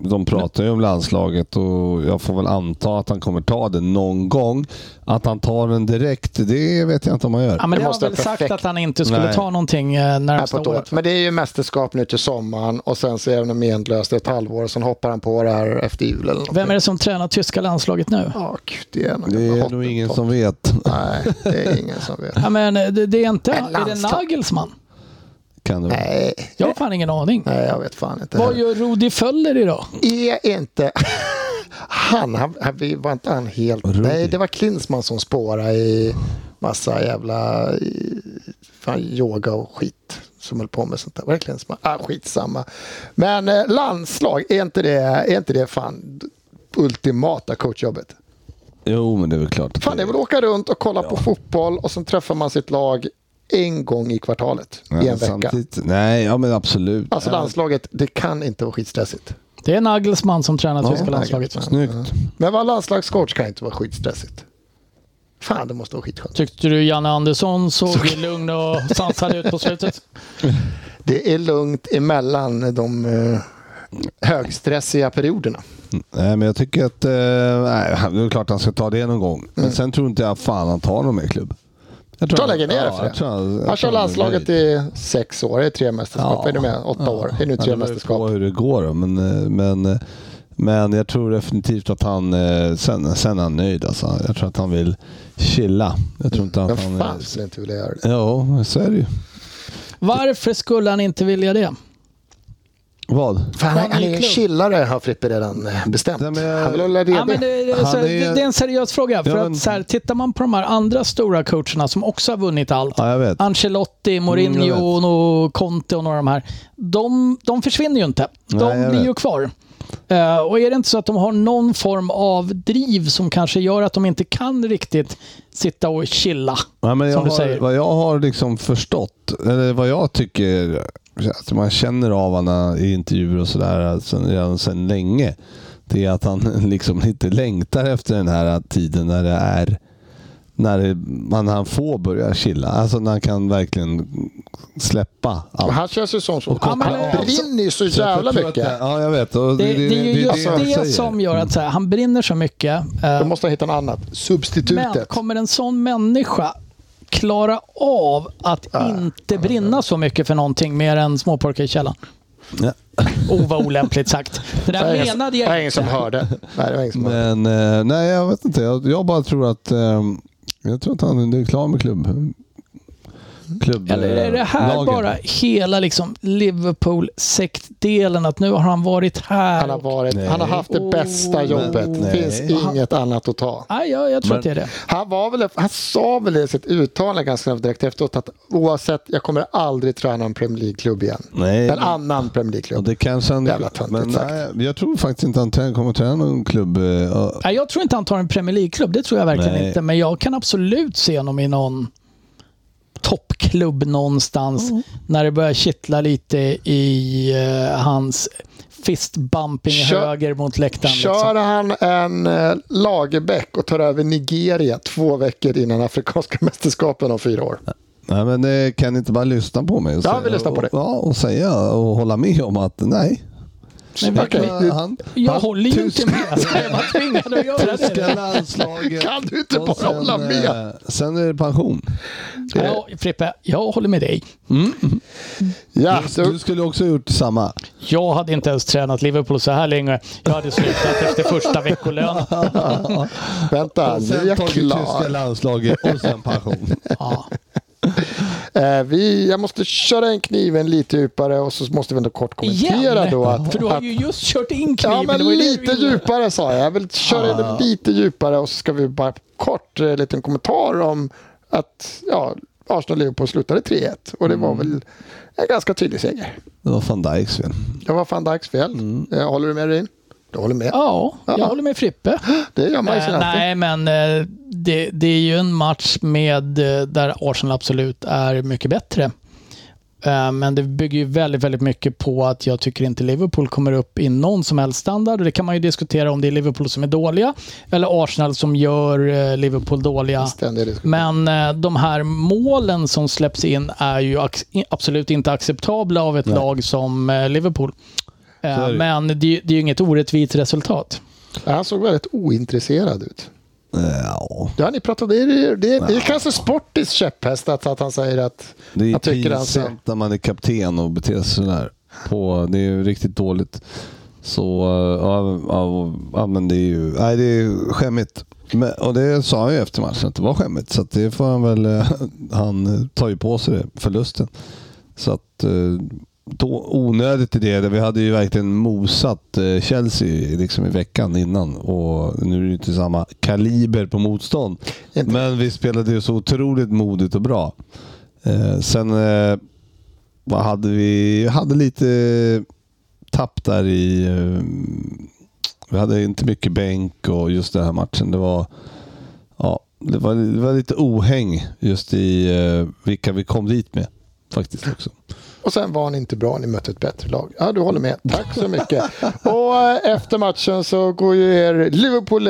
de pratar ju om landslaget och jag får väl anta att han kommer ta den någon gång. Att han tar den direkt, det vet jag inte om han gör. Ja, men Det det har måste han väl vara sagt perfekt. att han inte skulle Nej. ta någonting eh, här på närmsta ett år. året. Men det är ju mästerskap nu till sommaren och sen så är det något menlöst i ett halvår och sen hoppar han på det här efter jul eller något. Vem är det som tränar tyska landslaget nu? Ja, gud, det är, någon Det jävla är hot- nog ingen som vet. Nej, det är ingen som [laughs] vet. Ja, men eh, det, det är inte... Men Är det landslag- Nagelsmann? Kan det vara. Nej, Jag har fan ingen aning. nej jag vet fan inte. Vad gör Rudi Föller idag? är inte... [laughs] Han, han, han vi- var inte han helt... Rudi. Nej, det var Klinsmann som spårade i massa jävla i, fan, yoga och skit som höll på med sånt där. Var det Klinsmann? Ah, skitsamma. Men eh, landslag, är inte det, är inte det fan ultimata coachjobbet? Jo, men det är väl klart. att Fan, det är väl att åka runt och kolla på fotboll och sen träffar man sitt lag en gång i kvartalet i en vecka. Samtidigt, nej, ja men absolut. Alltså landslaget, det kan inte vara skitstressigt. Det är Nagelsmann som tränar Ja, tyska landslaget. Nagelsmann. Snyggt. Men vara landslagscoach kan inte vara skitstressigt. Fan, det måste vara skitskönt. Tyckte du Janne Andersson såg lugn och sansad ut på slutet? Det är lugnt emellan de eh, högstressiga perioderna. Nej, men jag tycker att... Eh, nej, han- det är klart han ska ta det någon gång. Men sen tror inte jag fan han tar någon mer klubb. Jag Mm. tror han lägger ner för det. jag tror jag Han tror kör landslaget nöjd. i sex år, det är tre mästerskap. Ja. Är du med? Åtta år, det är nu tre Ja, det beror ju mästerskap. på hur det går då, men, eh, men, eh, men jag tror definitivt att han... eh, Sen, sen är han nöjd alltså. Jag tror att han vill chilla. Jag tror inte Vem att han... fan är- skulle inte vilja göra det? Ja, så är det ju. [laughs] Varför skulle han inte vilja det? Vad? Fan, han, han är Vanlig en klubb. chillare har Frippe redan eh, bestämt. Nej, men jag- Han vill hålla reda. Ja, men det, det, Han så, är- det, det är en seriös fråga. För Ja, men- att, så här, tittar man på de här andra stora coacherna som också har vunnit allt. Ja, jag vet. Ancelotti, Mm, jag Mourinho, vet. och Conte och några av de här. De, de försvinner ju inte. De Nej, jag blir vet. ju kvar. Eh, och är det inte så att de har någon form av driv som kanske gör att de inte kan riktigt sitta och chilla? Ja, men jag Som du har, säger. Vad jag har liksom förstått, eller vad jag tycker att man känner av honom i intervjuer och sådär alltså, redan sedan länge, det är att han [laughs] liksom inte längtar efter den här tiden när det är när det, man, han får börja chilla. Alltså när han kan verkligen släppa Men allt. han känns ju som som Ja, men- han brinner ju så Så jag jävla tror att mycket. det- Ja, jag vet. Och Det, det, är ju just han det, säger. som gör att så här, han brinner så mycket. eh, Då måste han hitta något annat. Men Substitutet. kommer en sån människa klara av att inte brinna så mycket för någonting mer än småpojkar i källaren? Ja. Oh, vad olämpligt sagt. Det Det var där ingen- menade Det var jag ingen inte. som hörde. Nej, det var ingen som hörde. Men eh, nej, jag vet inte. Jag, jag bara tror att eh, jag tror att han är klar med klubb. klubb Eller är det här eh, lagen. bara hela liksom Liverpool-sektdelen? Att nu har han varit här? Han har, varit, han har haft det Nej. bästa Oh. jobbet. Det Nej. finns inget annat att ta. Nej, jag, jag tror Men- att det är det. Han, var väl, han sa väl i sitt uttalande ganska snabbt direkt efteråt att oavsett, jag kommer aldrig träna en Premier League-klubb igen. Nej, En annan Premier och League-klubb. det kanske han... Jävla töntigt men sagt. nej, jag tror faktiskt inte han trä- kommer träna någon klubb. eh, Nej, jag tror inte han tar en Premier League-klubb. Det tror jag verkligen Nej. inte. Men jag kan absolut se honom i någon toppklubb någonstans när det börjar kittla lite i eh, hans fistbumping Kör- höger mot läktaren. Kör Liksom. han en eh, Lagerbäck och tar över Nigeria två veckor innan afrikanska [laughs] mästerskapen om fyra år. Nej, men eh, kan ni inte bara lyssna på mig? och Ja, säga- vi lyssnar på dig. Och, ja, och säga och hålla med om att nej. Men vi- Han- han- Jag han- håller ju inte med. Alltså, Jag är bara tvingad att göra det. Tyska landslaget. Kan du inte Och bara sen, hålla med? eh, Sen är det pension. Ja, Frippe, jag håller med dig. Ja, Du du, skulle också gjort samma. Jag hade inte ens tränat Liverpool så här länge. Jag hade slutat efter [laughs] första veckolönen. vänta, nu är Sen jag tagit tyska klar. landslaget och sen pension. Ja. Eh, vi, jag måste köra in kniven lite djupare och så måste vi ändå kort kommentera Igen? då att, För du har att ju just kört in kniven. Ja, Det men var ju det du lite ville. djupare sa jag. Jag vill köra in det lite djupare och så ska vi bara kort eh, liten kommentar om att ja, Arsenal och Liverpool slutade 3-1 och det Mm. var väl en ganska tydlig seger. [laughs] Det var van Dijks fel. Det var fan Dijks fel. Mm. Eh, Håller du med Rin? Du håller med. Ja, jag Ja. håller med Frippe. Det gör man ju Eh, sen alltid. nej, men eh, det, det är ju en match med, eh, där Arsenal absolut är mycket bättre. Eh, men det bygger ju väldigt, väldigt mycket på att jag tycker inte Liverpool kommer upp i någon som helst standard. Och det kan man ju diskutera om det är Liverpool som är dåliga eller Arsenal som gör eh, Liverpool dåliga. Ständig diskussion. Men eh, de här målen som släpps in är ju ac- i- absolut inte acceptabla av ett lag som eh, Liverpool. Eh, Så är det ju. Men det, är ju- det är ju inget orättvist resultat. Han såg väldigt ointresserad ut. Eh, Ja, Ja, ni pratade, det, är- det, är- det är kanske Sportis käpphäst att, att han säger att det är jag tycker alltså. han ser... pinsamt när man är kapten och beter sig sådär. På, det är ju riktigt dåligt. Så eh, ja, ja, ja, men det är ju nej, det är ju skämmigt. Men, och det sa han ju efter matchen att det var skämmigt. Så att det får han väl... eh, [laughs] Han tar ju på sig det, förlusten. Så att eh, då, onödigt i det. Vi hade ju verkligen mosat eh, Chelsea liksom i veckan innan och nu är det ju inte samma kaliber på motstånd. Inte. Men vi spelade ju så otroligt modigt och bra. Eh, sen eh, vad hade vi? hade lite tapp där i... Eh, vi hade inte mycket bänk och just den här matchen. Det var... Ja, det var, det var lite ohäng just i eh, vilka vi kom dit med. Faktiskt också. Och sen var ni inte bra, ni mötte ett bättre lag. Ja, du håller med. Tack så mycket. och eh, efter matchen så går ju er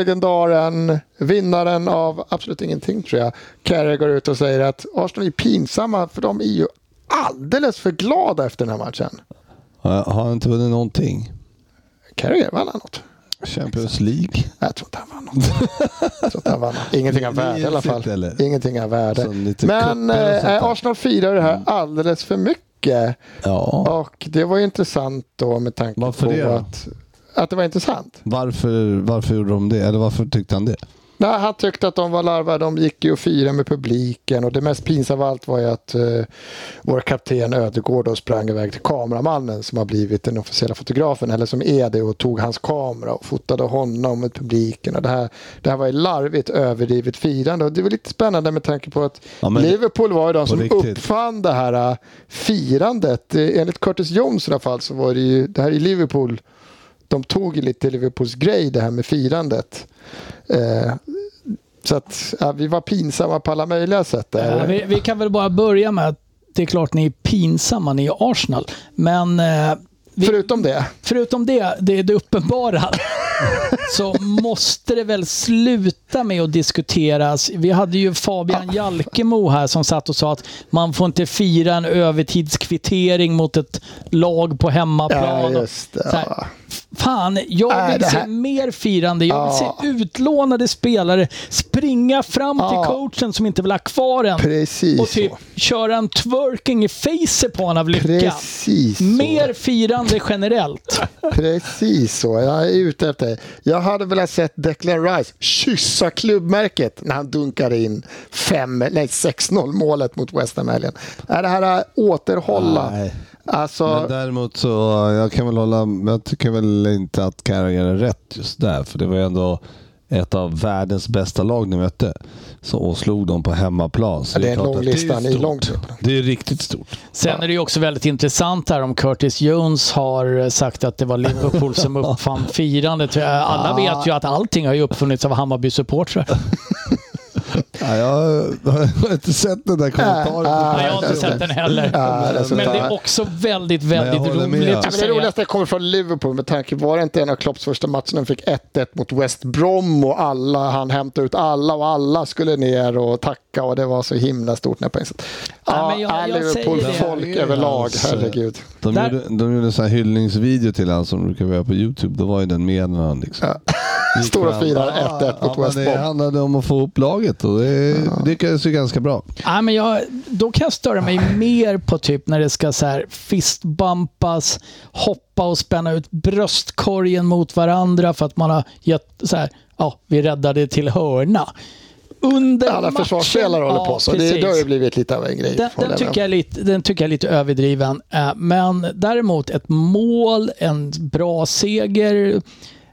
Liverpool-legendaren, vinnaren av absolut ingenting tror jag, Carrey går ut och säger att Arsenal är pinsamma för de är ju alldeles för glada efter den här matchen. Har har han inte vunnit någonting? Carrey vann han något? Champions League? Jag tror inte han vann något. Jag tror inte han vann något. Ingenting av värde i alla fall. Minns inte, eller? Ingenting av värde. Som lite Men cup eller eh, sånt där. Arsenal firar det här Mm. alldeles för mycket. Ja. Och det var ju intressant då med tanke Varför på det då? att att det var intressant. Varför, varför gjorde de det? Eller varför tyckte han det? Nej, han tyckte att de var larvar, de gick ju och firade med publiken och det mest pinsamma av allt var ju att eh, vår kapten Ödegård då sprang iväg till kameramannen som har blivit den officiella fotografen, eller som är det, och tog hans kamera och fotade honom med publiken. Och det, här, det här var ju larvigt överdrivet firande och det var lite spännande med tanke på att Ja, men- Liverpool var ju de som riktigt. uppfann det här eh, firandet. Eh, Enligt Curtis Jones i alla fall så var det ju, det här i Liverpool, de tog ju lite Liverpools grej det här med firandet. Eh, så att ja, vi var pinsamma på alla möjliga sätt. Där. Eh, Vi, vi kan väl bara börja med att det är klart ni är pinsamma, ni är Arsenal. Men eh, vi, Förutom det. förutom det, det är [laughs] det uppenbara, så måste det väl sluta med att diskuteras. Vi hade ju Fabian Ah. Jalkemo här som satt och sa att man får inte fira en övertidskvittering mot ett lag på hemmaplan. Ja, just det, Så här, ja. Fan, jag Nej, vill det se här- mer firande. Jag vill Ja. se utlånade spelare springa fram Ja. till coachen som inte vill ha kvar en Precis och typ så. köra en twerking i face på honom av lycka. Precis så. Mer firande generellt. Precis så. Jag är ute efter det. Jag hade velat sett Declan Rice kyssa klubbmärket när han dunkade in fem- nej, 6-0 målet mot West Ham helgen. Är det här att återhålla? Nej. Alltså, Men däremot så, jag kan väl hålla, jag tycker väl inte att Carragher är rätt just där. För det var ju ändå ett av världens bästa lag ni mötte. Så och slog dem på hemmaplan. Så Ja, det är en klart lång att det är lista. Ni är stort. långt upp. Det är riktigt stort. Sen är det ju också väldigt intressant här om Curtis Jones har sagt att det var [laughs] Liverpool som uppfann firandet. Alla vet ju att allting har ju uppfunnits av Hammarby-supportrar. Ja, jag har inte sett den där kommentaren. Äh, Nej, jag har inte sett den heller. Ja, det är så Men det där. är också väldigt, Men jag väldigt håller med. roligt Ja, Ja, att men det säga. roligaste kommer från Liverpool med tanke var det inte en av Klopps första matcher när de fick 1-1 mot West Brom och alla, han hämtade ut alla och alla skulle ner och tacka och det var så himla stort när på sätt. Ja, Ja, men jag- ja, jag säger Liverpool-folk det. överlag, Alltså. herregud. De, Där- gjorde, de gjorde en sån här hyllningsvideo till han som brukar vara på YouTube. Då var ju den med när han liksom... gick Stora fram. firar Ja, 1-1 mot men West Det Brom. handlade om att få ihop laget och det det lyckades ju ganska bra. Nej, men jag, då kan jag störa mig Ah. mer på typ när det ska så här fistbumpas, hoppa och spänna ut bröstkorgen mot varandra för att man har gett så här, ja, vi räddade till hörna. Under Alla matchen- försvarsspelare håller på så. Det, det har ju blivit lite av en grej. Den, håller den, jag tycker med. jag är lite, den tycker jag är lite överdriven. Eh, Men däremot ett mål, en bra seger.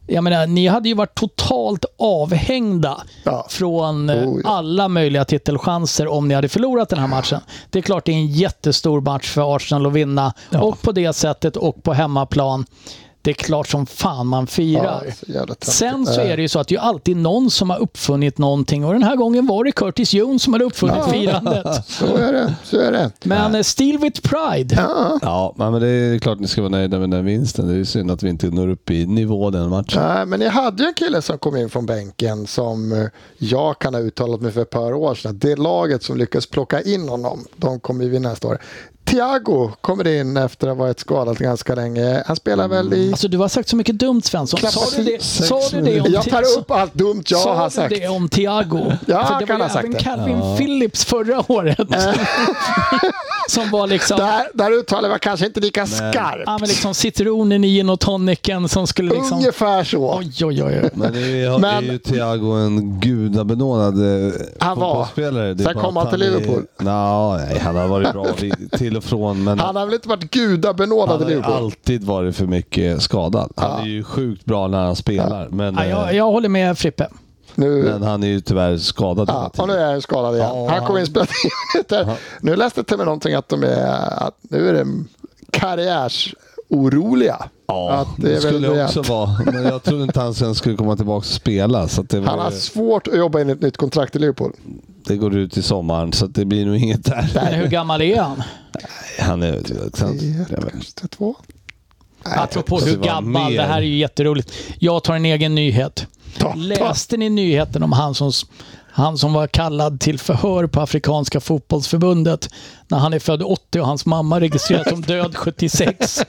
Jag menar, ni hade ju varit totalt avhängda Ja. från eh, Oh, ja. alla möjliga titelchanser om ni hade förlorat den här matchen. Det är klart det är en jättestor match för Arsenal att vinna. Och på det sättet och på hemmaplan. Det är klart som fan man Ja, firar. det är så jävla töntigt. Eh. Sen så är det ju så att det är ju alltid någon som har uppfunnit någonting och den här gången var det Curtis Jones som hade uppfunnit [laughs] firandet. Så är det. Så är det. Men eh, Steel with Pride. Ja, men det är klart ni ska vara nöjda med den vinsten. Det är ju synd att vi inte når upp i nivå den matchen. Nej, men ni hade ju en kille som kom in från bänken som eh, jag kan ha uttalat mig för ett par år sedan. Det laget som lyckades plocka in honom, de kommer ju vinna nästa år. Thiago kommer in efter att ha varit skadad ganska länge. Han spelar väl i... Alltså du har sagt så mycket dumt Svensson. Sa du det, Sex sa du det Alltså, om Jag tar upp allt dumt jag sa har du sagt. det om Thiago? Ja, För det kan ha var ju sagt även det. Calvin Phillips förra året. [laughs] som var liksom, Där, där uttalar jag kanske inte lika skarpt. ja, men liksom citronen i gin och tonicen som skulle liksom... Ungefär så. Oj, oj, oj. oj. Men det är ju, Men- eh, är ju Thiago en gudabenådad eh, Han var. fotbollsspelare. Det är Sen bara kom att han till är- Liverpool. Nå, nej, han har varit bra i- till och från. Men Han har väl inte varit gudabenådad i Han har ju Liverpool? alltid varit för mycket skadad. Han är ju sjukt bra när han spelar, men, Ja, eh, jag, jag håller med Frippe. Nu, men han är ju tyvärr skadad hela Ja, och nu tiden. är jag skadad igen. Ja, han kommer han- in spela tio minuter. Nu läste jag till mig någonting att de är, att nu är det karriärs oroliga. Att det är det skulle väl det jag också vara. Men jag trodde inte han sen skulle komma tillbaka och spela. Så att det, Han var, har svårt att jobba in ett nytt kontrakt i Liverpool. det går ut i sommaren, så att det blir nog inget där. Men hur gammal är han? Han är... Han, Kanske två. Apropå det hur var gammal, mer. det här är ju jätteroligt. Jag tar en egen nyhet. Ta, ta. Läste ni nyheten om han som, han som var kallad till förhör på Afrikanska fotbollsförbundet när han är född 80 och hans mamma registreras som död 76?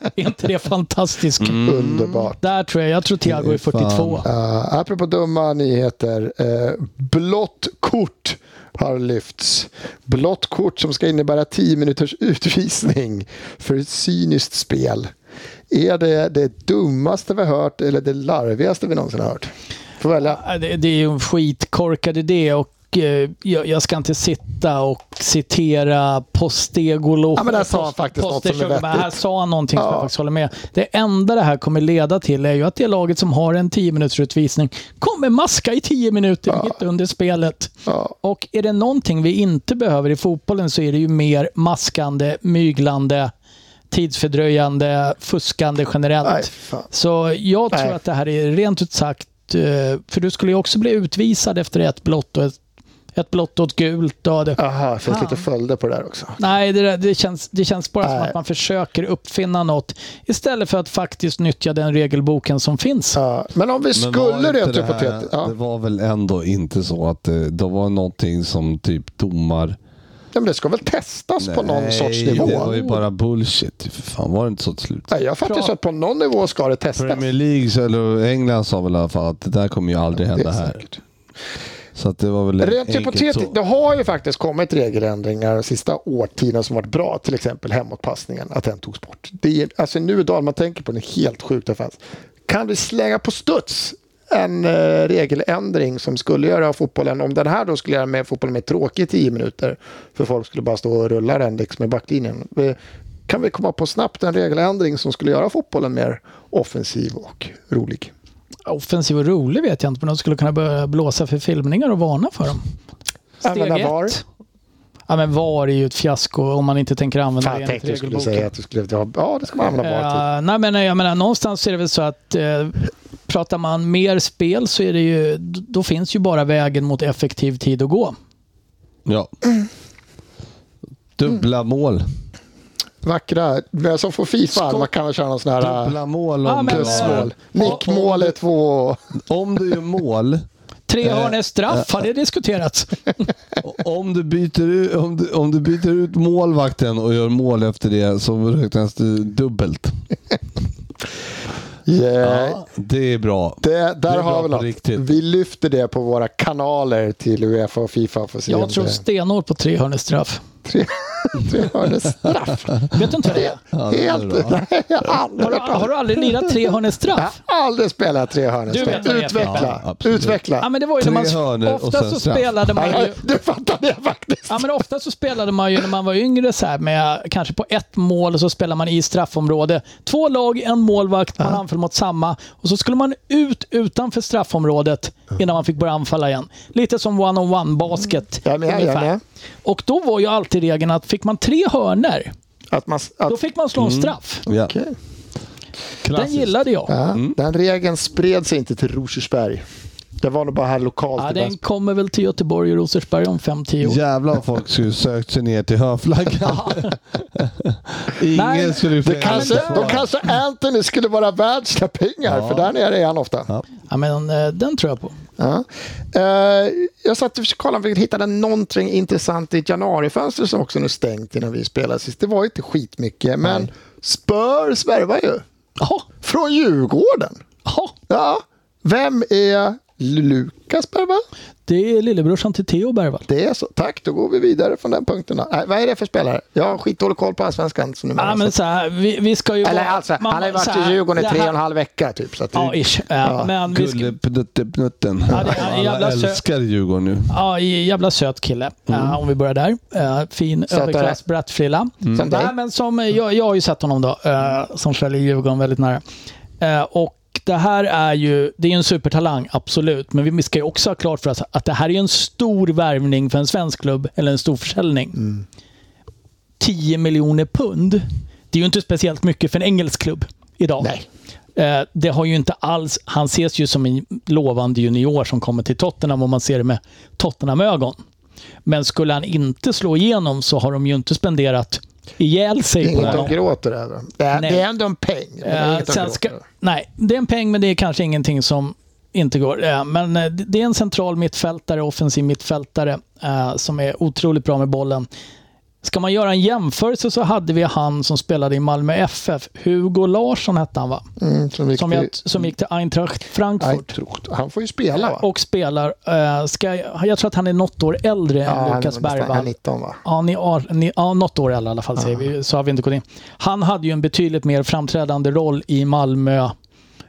är inte det fantastiskt? Mm. Underbart. Där tror jag, jag tror Thiago är 42. Uh, apropå dumma nyheter. eh, blått kort har lyfts. Blått kort som ska innebära 10 minuters utvisning för ett cyniskt spel. Är det det dummaste vi har hört eller det larvigaste vi någonsin har hört? Får välja. Ja, Det, det är ju en skitkorkad idé och eh, jag, jag ska inte sitta och citera Postegolo. Ja, men där sa han faktiskt något som är Postechugolo, men vettigt. Här sa han någonting som Ja. jag faktiskt håller med. Det enda det här kommer leda till är ju att det laget som har en 10 minuters utvisning kommer maska i 10 minuter mitt under spelet. Ja. Och är det någonting vi inte behöver i fotbollen så är det ju mer maskande, myglande, tidsfördröjande, fuskande generellt. Nej, fan. Så jag tror Nej. att det här är rent ut sagt, eh, för du skulle ju också bli utvisad efter ett blått och ett, ett blått och ett gult. Och det, Aha, det finns Fan. lite följder på det där också. Nej, det, där- det, känns, det känns bara som Nej. att man försöker uppfinna något istället för att faktiskt nyttja den regelboken som finns. Ja, men om vi skulle rent hypotetiskt... Ja. Det var väl ändå inte så att eh, det, det var någonting som typ domar... Ja, men det ska väl testas på någon Nej, sorts nivå? det var ju bara bullshit. För fan var det inte så till slut? Nej, jag fattar ju så att på någon nivå ska det testas. Premier League, så- eller England, sa väl i alla fall att det där kommer ju aldrig Det hända är här. säkert. Så att det var väl Rent enkelt hypotetiskt, det så. har ju faktiskt kommit regeländringar de sista årtiondena som varit bra. Till exempel hemåtpassningen, att den togs bort. Det är, alltså nu idag, när man tänker på den, helt sjukt det fanns. Kan vi slänga på studs en eh, regeländring som skulle göra fotbollen, om den här då skulle göra med fotbollen mer tråkig i tio minuter, för folk skulle bara stå och rulla den liksom i backlinjen. Eh, Kan vi komma på snabbt en regeländring som skulle göra fotbollen mer offensiv och rolig? Offensiv och rolig vet jag inte, men de skulle kunna börja blåsa för filmningar och varna för dem. Steg Använda ett. VAR. Ja, men VAR är ju ett fiasko om man inte tänker använda Fan, det jag enligt tänkte du skulle regelboken. säga att du skulle... Ja, det ska man använda VAR till. Eh, nej, men jag menar, någonstans är det väl så att eh, pratar man mer spel så är det ju, d- då finns ju bara vägen mot effektiv tid att gå. Ja. Dubbla mål. Vackra. Men som får Fifa, man kan väl köra någon sån här Dubbla mål Ja, om men- du plusmål. har- Nickmål är två. Om du gör mål, Eh, Tre hörn är straff, har [laughs] det diskuterats? om du, byter ut, om, du, om du byter ut målvakten och gör mål efter det så räknas det dubbelt. Yeah. Det är bra. Det, är där har bra vi på något. riktigt. Vi lyfter det på våra kanaler till Uefa och Fifa. För att se om [laughs] Jag tror det- stenhårt på tre hörn är straff. Tre hörnor straff. Vet du inte [laughs] det? Ja, det är Helt... [laughs] bra. Nej, jag har aldrig Har du, hört talas om. har du aldrig lirat tre hörn är Jag straff? har aldrig spelat tre hörnor Du vet straff. vad det är för- Ja, Utveckla. absolut. Ja, Utveckla. men det var ju när Tre man, hörnor och ofta sen så straff. spelade man Ja, ju ja, Det fattade jag faktiskt. Ja, men ofta så spelade man ju när man var yngre så här med kanske på ett mål och så spelar man i straffområde. Två lag, en målvakt, man anföll mot samma och så skulle man ut utanför straffområdet innan man fick börja anfalla igen. Lite som one-on-one basket. Jag är med, jag är ungefär. med. Och då var ju alltid regeln att fick man tre hörner Att man, att, då fick man slå en straff. Ja. Okej. Den gillade jag. Mm. ja, Den regeln spred sig inte till Rosersberg. Det var nog bara här lokalt. i Ja, den Västmanland. kommer väl till Göteborg och Rosersberg om 5-10 år. Jävlar vad folk skulle sökt sig ner till höflaggan. [laughs] Ingen Nej, skulle ju Det kanske, då kanske Anthony skulle vara värd sina pengar, för där nere är han ofta. Ja. Ja, men, eh, den tror jag på. Eh, jag satt och kollade om vi hittade någonting intressant i ett januarifönster som också nu är stängt innan vi spelade sist. Det var ju inte skitmycket, men Spurs värvar ju. Jaha, Från Djurgården. jaha. Ja. Vem är Lukas Bergvall? Det är lillebrorsan till Theo Bergvall. Det är så. Tack, då går vi vidare från den punkten. Då. Nej, vad är det för spelare? Jag har skitdålig koll på allsvenskan. Så nu Ja, men så här, vi, vi ska ju alltså. Eller vara- alltså, man- han har ju så varit i här, Djurgården i det här- tre och en halv vecka typ. Så att det, Ja, ish. Ja, men vi ska, Pnuttenpnutten. Ja, det är en jävla Alla sö- älskar Djurgården nu. ja, i- jävla söt kille. Mm. Ja, om vi börjar där. Eh, fin Sötare. överklass brattfrilla. Mm. Som dig. Nej, men som, eh, jag, jag har ju sett honom då, eh, som följer Djurgården väldigt nära. Eh, och det här är ju, det är ju en supertalang, absolut. Men vi ska ju också ha klart för oss att det här är ju en stor värvning för en svensk klubb, eller en stor försäljning. 10 miljoner pund. Det är ju inte speciellt mycket för en engelsk klubb idag. Nej. Eh, Det har ju inte alls, han ses ju som en lovande junior som kommer till Tottenham om man ser det med Tottenham-ögon. Men skulle han inte slå igenom så har de ju inte spenderat ihjäl sig på Inget de honom. gråter över. Det är, Nej. det är ändå en peng. men det är Eh, inget de sen gråter ska, över. nej, det är en peng, men det är kanske ingenting som inte går. Eh, men eh, det det är en central mittfältare, offensiv mittfältare, eh, som är otroligt bra med bollen. Ska man göra en jämförelse så hade vi han som spelade i Malmö FF, Hugo Larsson hette han va? Mm, som gick Som, till- jag, som gick till Eintracht Nej, Frankfurt. troligt. Han får ju spela va? Och spelar, eh, ska, jag jag tror att han är något år äldre ja, än han Lukas är nästan- Han är Bergvall. 19 va? Ja, ni har, ni, ja, något år i alla fall säger vi, så har vi inte gått in. Han hade ju en betydligt mer framträdande roll i Malmö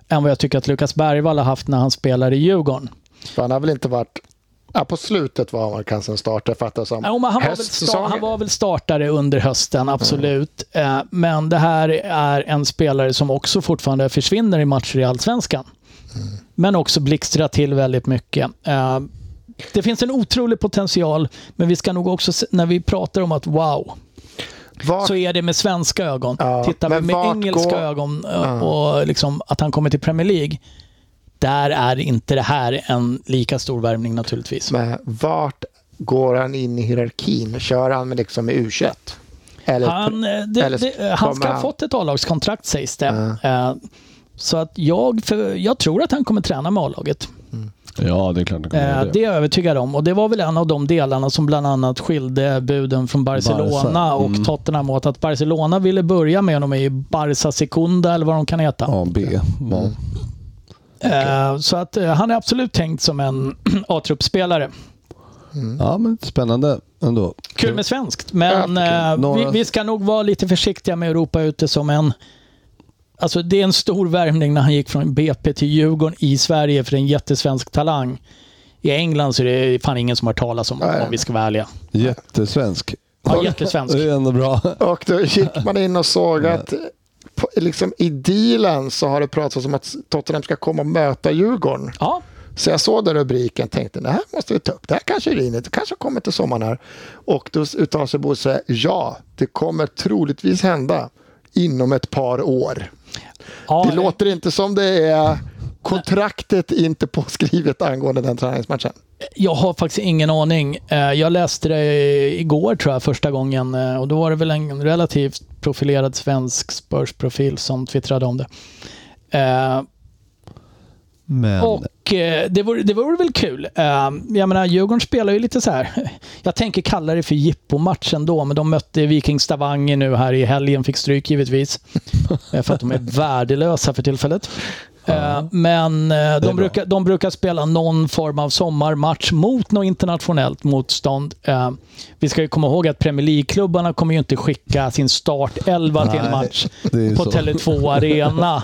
än vad jag tycker att Lukas Bergvall har haft när han spelar i Djurgården. För han har väl inte varit... Ja, på slutet var han kanske en startare fattar jag som. Jo, men han, var väl sta- Höstsäsongen. han var väl startare under hösten, absolut. Eh, Men det här är en spelare som också fortfarande försvinner i matcher i Allsvenskan. Men också blixtrar till väldigt mycket. Eh, Det finns en otrolig potential, men vi ska nog också, se- när vi pratar om att wow, Vart- så är det med svenska ögon. Ja, Tittar vi men med vart engelska går- ögon eh, och liksom att han kommer till Premier League, där är inte det här en lika stor värvning naturligtvis. Men vart går han in i hierarkin? Kör han med liksom i U21? Eller, Han, eh, det, eller det, han ska kommer ha fått ett A-lagskontrakt sägs det. Eh, Så att jag, för jag tror att han kommer träna med A-laget. Ja, det är klart det kommer Eh, göra Det är jag övertygad om. Och det var väl en av de delarna som bland annat skilde buden från Barcelona Barca, och Tottenham åt. Att Barcelona ville börja med honom i Barca Secunda eller vad de kan heta. Ja, B. Mm. Ja. Eh, Så att eh, han är absolut tänkt som en [clears throat] A-truppspelare. Mm. ja, men spännande ändå. Kul med svenskt, men Ja, eh, vi, några- vi ska nog vara lite försiktiga med Europa ute som en... Alltså det är en stor värvning när han gick från BP till Djurgården i Sverige för en jättesvensk talang. I England så är det fan ingen som har talas om Nej. om vi ska vara ärliga. Jättesvensk. [laughs] Ja, jättesvensk. Det är ändå bra. Och då gick man in och såg att på, liksom, i dealen så har det pratats om att Tottenham ska komma och möta Djurgården. Ja, Så jag såg den rubriken och tänkte det här måste vi ta upp. Det här kanske rinner. Det kanske kommer till sommaren här. Och då uttalar sig Bosse. Ja, det kommer troligtvis hända inom ett par år. ja, Det låter inte som det är kontraktet är inte påskrivet angående den träningsmatchen. Jag har faktiskt ingen aning. Eh, Jag läste det igår tror jag första gången eh, och då var det väl en relativt profilerad svensk Spurs-profil som twittrade om det. Eh, Men... Och eh, det vore, det vore väl kul. Eh, jag menar, Djurgården spelar ju lite så här. [laughs] Jag tänker kalla det för jippomatchen då, men de mötte Viking Stavanger nu här i helgen. Fick [laughs] stryk givetvis. Eh, för att de är värdelösa för tillfället. Eh, men eh, de, brukar, de brukar spela någon form av sommarmatch mot något internationellt motstånd. Eh, vi ska ju komma ihåg att Premier League-klubbarna kommer ju inte skicka sin startelva till en Nej, match det är ju på så. Tele2 [laughs] Arena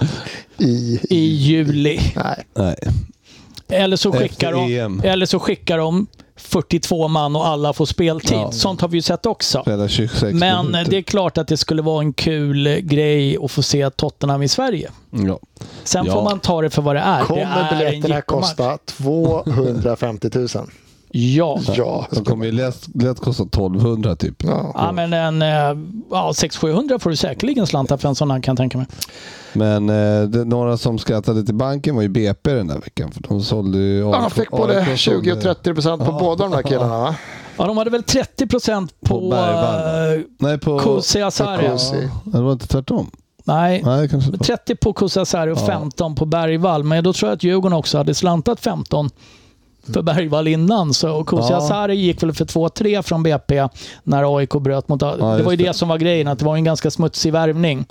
I, i juli. nej. Nej. Eller så skickar, de, EM. eller så skickar de 42 man och alla får speltid. Ja. Sånt har vi ju sett också. Spela 26 Men eh, minuter. det är klart att det skulle vara en kul eh, grej att få se Tottenham i Sverige. Ja. Sen Ja. får man ta det för vad det är. det Kommer är en biljetterna jippomatch. kosta 250 000? Ja. ja. Ja. De kommer ju lätt, lätt kosta 1200 typ. ja. men en eh, ja, 600-700 får du säkerligen slantar för en sån här kan jag tänka mig. Men eh, det, några som skrattade till banken var ju BP den här veckan. För de sålde ju... [laughs] Ja, de fick både 20 och 30 procent på båda de där killarna. Va? Ja, de hade väl 30 procent på... På Bergvall. eh, Nej, på... Kusi Asare. Kusi. Ja, det var inte tvärtom. Nej, Nej, kanske inte. 30 på Kusasäri och 15 på Bergvall. Men då tror jag att Djurgården också hade slantat 15 för Bergvall innan. Så Kusasäri gick väl för 2-3 från BP när AIK bröt mot... det var ju just det. det som var grejen, att det var en ganska smutsig värvning.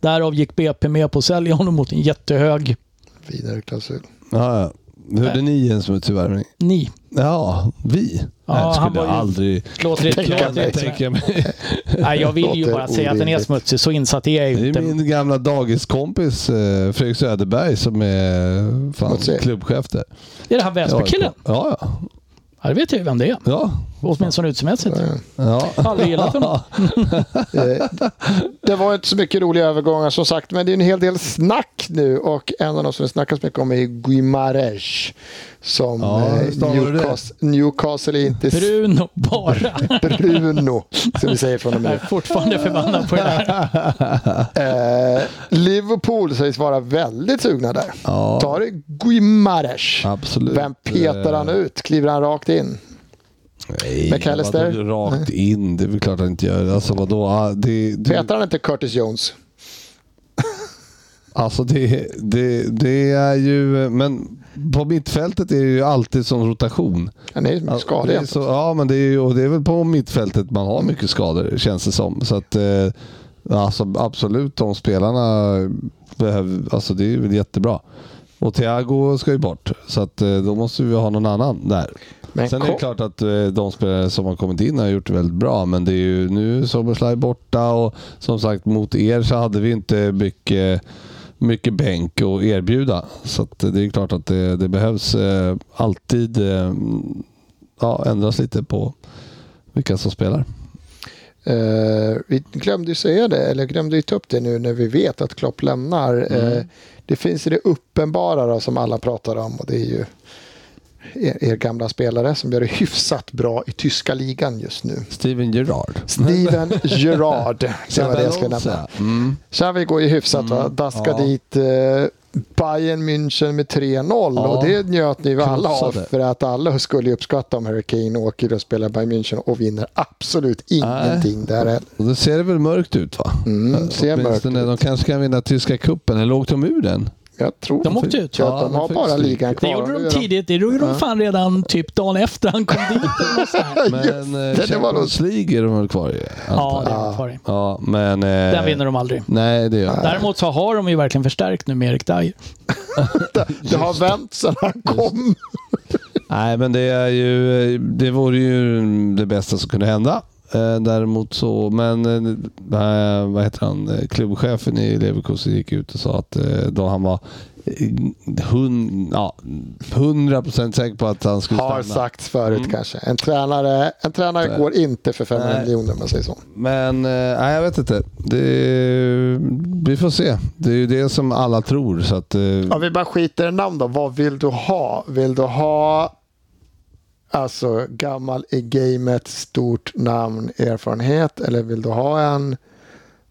Därav gick BP med på att sälja honom mot en jättehög Vidare klausul. Ja, ja. Hörde ni en smutsig värvning? ni. Ja, vi. Nej, det han skulle var jag ju- aldrig... Låter det, Tänka låter mig, det, tänka mig. nej, jag vill ju Låter bara säga att den är orimligt. smutsig, så insatt är jag ju Det är inte. min gamla dagiskompis eh, Fredrik Söderberg som är fan, Smutsig. klubbchef där. Det är det här Väsbykillen. Ja, ja. Ja, det vet jag ju vem det är. ja. Åtminstone utseendemässigt. Ja. Aldrig [laughs] gillat honom. Eh, Det var inte så mycket roliga övergångar som sagt, men det är en hel del snack nu och en av de som det snackas mycket om är Guimaraes. Som Ja, eh, hur stavar du det? Newcastle, Newcastle är inte s- Bruno bara. Bruno, som vi säger från och med [laughs] Jag nu. är fortfarande förbannad på det där. Eh, Liverpool sägs vara väldigt sugna där. Ja. Tar det Guimaraes. Absolut. Eh, Vem petar han ut? Kliver han rakt in? Nej, McAllister? vadå Rakt in, det är väl klart han inte gör. Alltså vadå? Ah, Det, det, Petar han inte Curtis Jones? alltså det, det, det är ju... Men på mittfältet är det ju alltid som rotation. Han är ju Alltså, det skadad är egentligen. så, Ja, men det är, ju, och det är väl på mittfältet man har mycket skador känns det som. Så att, eh, alltså, absolut, de spelarna behöver, alltså, det är väl jättebra. Och Thiago ska ju bort, så att, eh, då måste vi ha någon annan där. Men Sen är det kom- klart att eh, de spelare som har kommit in har gjort det väldigt bra, men det är ju nu Soberslaj borta och som sagt mot er så hade vi inte mycket, mycket bänk att erbjuda. Så att det är klart att det, det behövs eh, alltid eh, ja, ändras lite på vilka som spelar. Eh, vi glömde ju säga det, eller glömde ju ta upp det nu när vi vet att Klopp lämnar. Mm. Eh, det finns ju det uppenbara då, som alla pratar om och det är ju er, er gamla spelare som gör det hyfsat bra i tyska ligan just nu. Steven Gerrard. Steven [laughs] Gerrard. Det var det jag skulle nämna. Sabalosa. Mm. Xavi går ju hyfsat va? Daska ja. dit eh, Bayern München med 3-0 Ja. och det njöt ni väl alla av Krossade. för att alla skulle ju uppskatta om Hurricane åker och spelar Bayern München och vinner absolut ingenting där heller. Och det ser det väl mörkt ut va? Mm, ser mörkt Åtminstone, De ut. kanske kan vinna tyska cupen, eller åkte de ur den? Jag tror De åkte ut. Ja, de Ja, har de bara fick stryk. ligan Det kvar. gjorde de Nu är tidigt. Det gjorde de fan redan typ dagen efter han kom dit. eller något sånt här. Men Just eh, det, det var Champions League är de väl kvar i? [laughs] Ja, antar det jag. var farligt. ja, men... Eh, Den vinner de aldrig. Nej, det gör de inte. Däremot så har de ju verkligen förstärkt nu med Erik Dyer. Det har vänt sedan han kom. Nej, men det är ju... Det vore ju det bästa som kunde hända. Eh, Däremot så, men eh, vad heter han? Eh, Klubbchefen i Leverkusen gick ut och sa att eh, då han var eh, hun, ja, 100% säker på att han skulle Har stanna. sagts förut Mm. kanske. En tränare, en tränare går inte för 500 Nej. miljoner om man säger så. Men eh, nej, jag vet inte. Det, vi får se. Det är ju det som alla tror. Så att, eh, Om vi bara skiter i namn då. Vad vill du ha? Vill du ha alltså gammal i gamet, stort namn, erfarenhet eller vill du ha en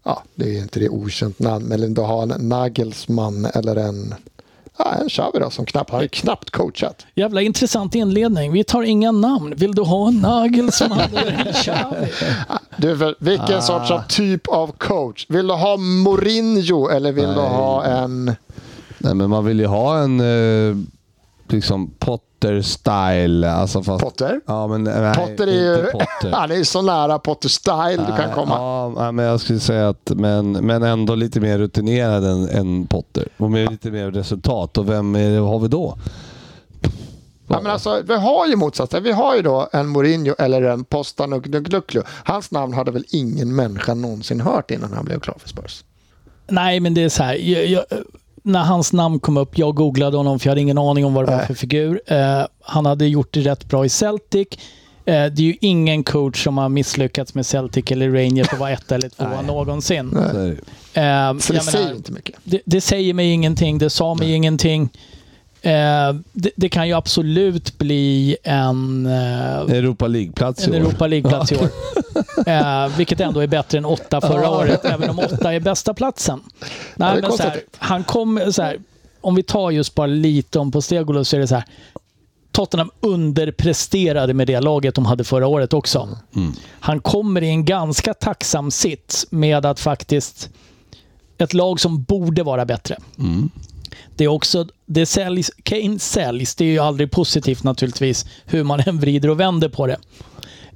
Ja, det är ju inte det okänt namn, men vill du ha en Nagelsmann eller en ja, en Xavi då, som knappt, han har ju knappt coachat. Jävla intressant inledning. Vi tar inga namn. Vill du ha en [laughs] Nagelsmann eller en Xavi? Du, för Ah. vilken sorts av typ av coach? Vill du ha Mourinho eller vill du Nej. ha en... Nej, men man vill ju ha en eh, liksom Potter-style. Alltså fast, Potter? Ja, men, nej, Potter är ju... inte [laughs] Potter. [laughs] Han är ju så nära Potter-style du kan Nej, komma. Ja, nej, men jag skulle säga att, men, men ändå lite mer rutinerad än, än Potter. Och med lite mer resultat. Och vem är det, har vi då? Ja, men alltså, vi har ju motsatsen. Vi har ju då en Mourinho eller en Postanugluglu. Hans namn hade väl ingen människa någonsin hört innan han blev klar för Spurs. Nej, men det är så här. Jag, jag, när hans namn kom upp, jag googlade honom för jag hade ingen aning om vad det var Nej. för figur. Eh, han hade gjort det rätt bra i Celtic. Eh, det är ju ingen coach som har misslyckats med Celtic eller Rangers att vara ett eller tvåa någonsin. Så Eh, är det ju. jag Så det säger menar, inte mycket. det, det säger mig ingenting, det sa mig ingenting. Eh, det, det kan ju absolut bli en... eh, Europa League-plats i en år. Europa League-plats i år. Eh, vilket ändå är bättre än åtta förra året, även om åtta är bästa platsen. det Nej, är men så här, konstigt. han kom, så här, om vi tar just bara lite om Postegolo så är det så här. Tottenham underpresterade med det laget de hade förra året också. Han kommer i en ganska tacksam sits med att faktiskt ett lag som borde vara bättre. Det är också, det säljs, Kane säljs, det är ju aldrig positivt naturligtvis, hur man [laughs] än vrider och vänder på det.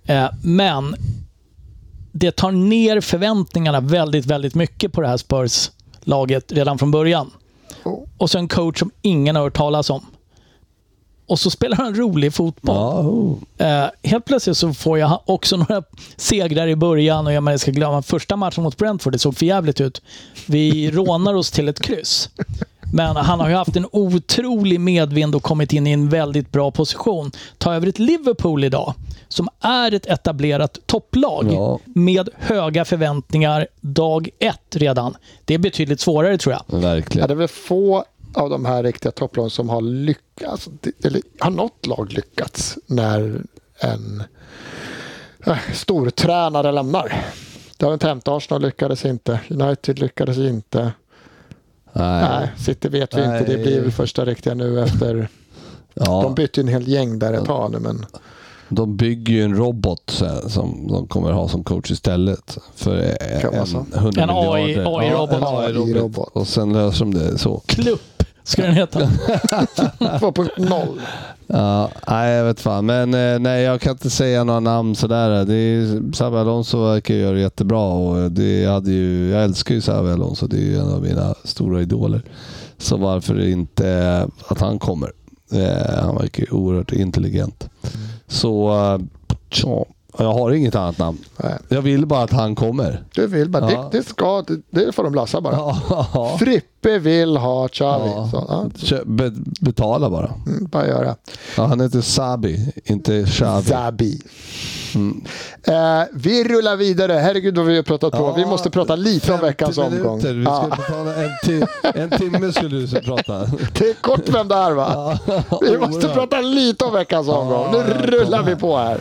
Eh, men det tar ner förväntningarna väldigt, väldigt mycket på det här Spurs-laget redan från början. Oh. Och så en coach som ingen har hört talas om. Och så spelar han rolig fotboll. Ja, oh. Eh, helt plötsligt så får jag också [laughs] några segrar i början och jag menar, jag ska glömma första matchen mot Brentford. Det såg för jävligt ut. Vi rånar oss till ett kryss. Men han har ju haft en otrolig medvind och kommit in i en väldigt bra position. Ta över ett Liverpool idag, som är ett etablerat topplag Ja. med höga förväntningar dag ett redan. Det är betydligt svårare tror jag. Ja, Verkligen. det är väl få av de här riktiga topplagen som har lyckats, eller har något lag lyckats när en äh, stor tränare lämnar. Det har inte hänt. Arsenal lyckades inte. United lyckades inte. Nej, City vet vi inte. Det Nej. blir väl första riktiga nu efter. De Ja, bytte ju en hel gäng där ett tag nu, men de bygger ju en robot sen, som de kommer ha som coach istället. För en, Kan man säga. 100 En AI miljarder. Ja, AI-robot. en AI-robot. Och sen löser de det så. Klupp ska den heta. 2.0. Ja, nej, jag vet fan. Men eh, nej, jag kan inte säga några namn sådär. Det är, Xabi Alonso verkar göra det jättebra och det hade ju, jag älskar ju Xabi Alonso. Det är ju en av mina stora idoler. Så varför inte att han kommer? Eh, han verkar ju oerhört intelligent. Så, eh, tja, jag har inget annat namn. Nej. Jag vill bara att han kommer. Du vill bara, Ja. det, det, ska, det, det får de lösa bara. Ja. Frippe vill ha Xavi. Ja. Så, ja, Kö- Be- betala bara. mm, bara göra. Ja, han heter Sabi, inte Xavi. Zabi. Eh, vi rullar vidare. Herregud vad vi har pratat på. Ja, Vi måste prata lite om 50 veckans omgång. minuter. Vi ska Ja, betala en, ti- en timme skulle du så prata. det är kort vem det är va? [laughs] Vi måste Oerhört. prata lite om veckans omgång. Nu rullar vi på här.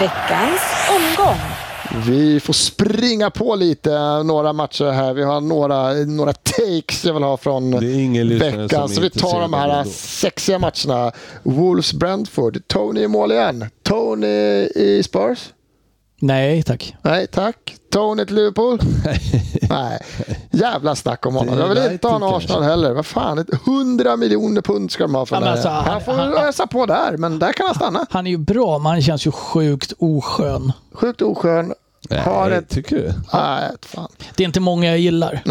Veckans omgång. Vi får springa på lite några matcher här. Vi har några, några takes jag vill ha från Det är ingen lyssnare som är veckan. Så vi tar de intresserad här av det då. sexiga matcherna. Wolves-Brentford. Tony i mål igen. Tony i Spurs. Nej, tack. Nej, tack. Tony till [laughs] Liverpool? Nej. Jävla snack om honom. Det Jag är vill inte ha United någon Arsenal heller. Vad fan, ett 100 miljoner pund ska de ha för Ja, den men här. alltså, han, han- får han- ösa på där, men där kan han stanna. Han är ju bra, men han känns ju sjukt oskön. Sjukt oskön. Har Nej, ett... Tycker du? Nej, fan. Det är inte många jag gillar.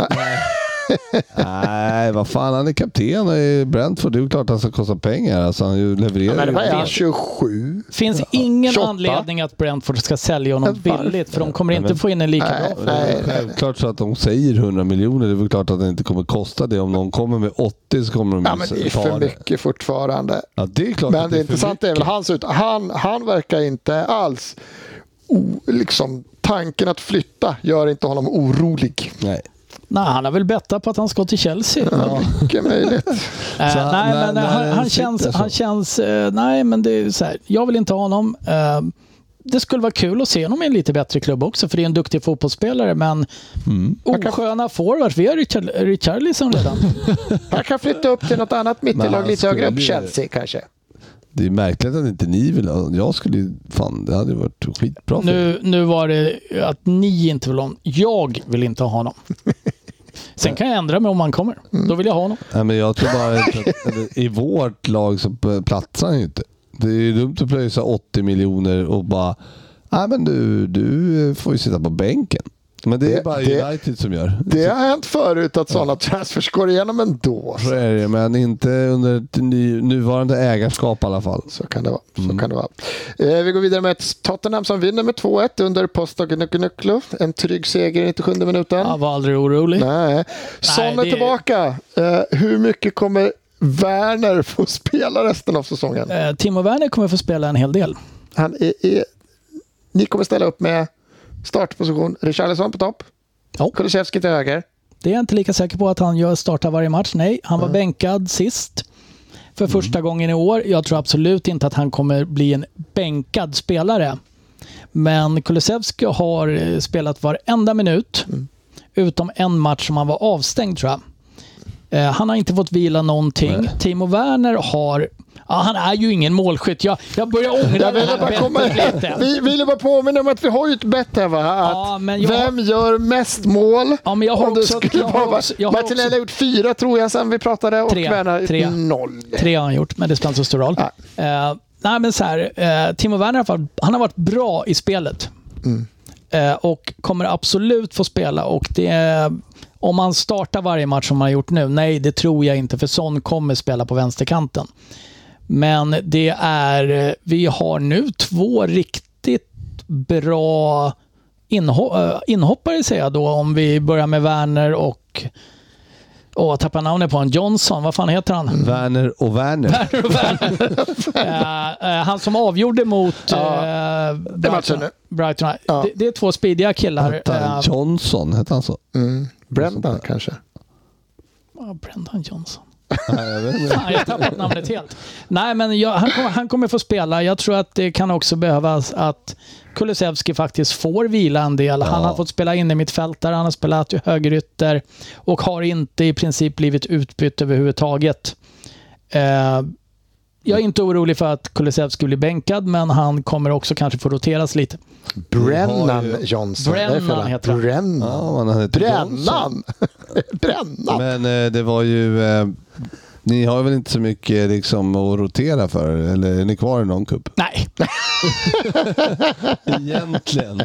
Nej, vad fan. Han är kapten i Brentford. Det är ju klart att han ska kosta pengar. Alltså, han ju levererar Men ju. vad är han? vet- 27? finns ingen 28. anledning att Brentford ska sälja honom Men varför? billigt, för de kommer Nej, inte men- få in en lika bra. Nej, Och det är nej. väl Självklart så att de säger 100 miljoner. Det är väl klart att det inte kommer kosta det. Om någon kommer med 80 så kommer de Ja, ju men ta det är för mycket fortfarande. Ja, det är klart Men att det är för intressanta är väl hans ut. Han, han verkar inte alls... O, liksom, tanken att flytta gör inte honom orolig. mycket. Nej. Nej, han har väl bettat på att han ska till Chelsea. Mycket möjligt. Eh, Så han- nej, när- men när han, det han sitter känns... så. Han känns eh, nej, men det är ju så här. Jag vill inte ha honom. Eh, det skulle vara kul att se honom i en lite bättre klubb också, för det är en duktig fotbollsspelare, men Mm. osköna forwards. Vi har Richard, [laughs] Richarlison redan. Han kan flytta upp till något annat Men mittellag han lite högre upp. skulle ju- Chelsea kanske. Det är märkligt att inte ni vill ha Jag skulle ju... Fan, det hade ju varit skitbra för er. Nu, nu var det att ni inte vill ha honom. Jag vill inte ha [laughs] honom. Sen kan jag ändra mig om han kommer. Mm. Då vill jag ha honom. Nej, men jag tror bara inte att, eller, I vårt lag så platsar han ju inte. Det är ju dumt att plöja 80 miljoner och bara Nej men du, du får ju sitta på bänken. Men det, Det- är bara det- United som gör. Det har hänt förut att sådana transfers går igenom ändå. Så är det, men inte under ett ny, nuvarande ägarskap i alla fall. Så kan det vara. Så kan det vara. Eh, vi går vidare med ett Tottenham som vinner med 2-1 under Posta Gnuklu. En trygg seger i 97 minuten. Jag var aldrig orolig. Nej. Son är det- tillbaka. Eh, hur mycket kommer Werner få spela resten av säsongen? Eh, Timo Werner kommer få spela en hel del. Han är, är... Ni kommer ställa upp med startposition. Richarlison på topp. Ja. Kulusevski till höger. Det är jag inte lika säker på att han gör startar varje match. Nej, han var bänkad sist Mm. för första gången i år. Jag tror absolut inte att han kommer bli en bänkad spelare. Men Kulusevski har eh, spelat varenda minut, Mm. utom en match som han var avstängd tror jag. Eh, Han har inte fått vila någonting. Timo Werner har... Ja, han är ju ingen målskytt. Jag, jag börjar ångra Jag det ville här bara, bettet komma, lite. vi ville bara påminna om att vi har ju ett bett här va? Att Ja, men jag- Vem gör mest mål? Ja, men jag har Om du också- skulle jag har bara- också- jag har Martinelli har gjort fyra tror jag sen vi pratade och Tre, Werner tre. noll. Tre har han gjort, men det spelar inte så stor roll. Eh, nej, men så här, eh, Timo Werner har varit, han har varit bra i spelet. Eh, och kommer absolut få spela. Och det, är- om han startar varje match som han har gjort nu, nej det tror jag inte, för Son kommer spela på vänsterkanten. Men det är, eh, vi har nu två riktigt bra inho- eh, inhoppare säger jag då, om vi börjar med Werner och... Åh, jag tappar namnet på honom. Johnson, vad fan heter han? Mm. Werner och Werner. Eh, eh, han som avgjorde mot eh, matchen Brighton. nu. Brighton. Ja. Det, det är två speediga killar. Werner. Eh, Johnson, hette han så? Brendan Mm. kanske? ja, Brendan Johnson. Nej, jag vet inte. Fan, jag har tappat namnet helt. Nej, men jag, han, kommer, han kommer få spela. Jag tror att det kan också behövas att Kulusevski faktiskt får vila en del. Han Ja. har fått spela in i mitt han har spelat högerytter och har inte i princip blivit utbytt överhuvudtaget. Eh, jag är inte orolig för att Kulusevski blir bänkad, men han kommer också kanske få roteras lite. Vi har Brennan ju- Johnson. det är Brennan fel. heter han. Ja, Brennan. men han heter Johnson. Brännan! Brännan! Men eh, det var ju... Eh, ni har väl inte så mycket eh, liksom, att rotera för? Eller är ni kvar i någon kupp? Nej, Egentligen.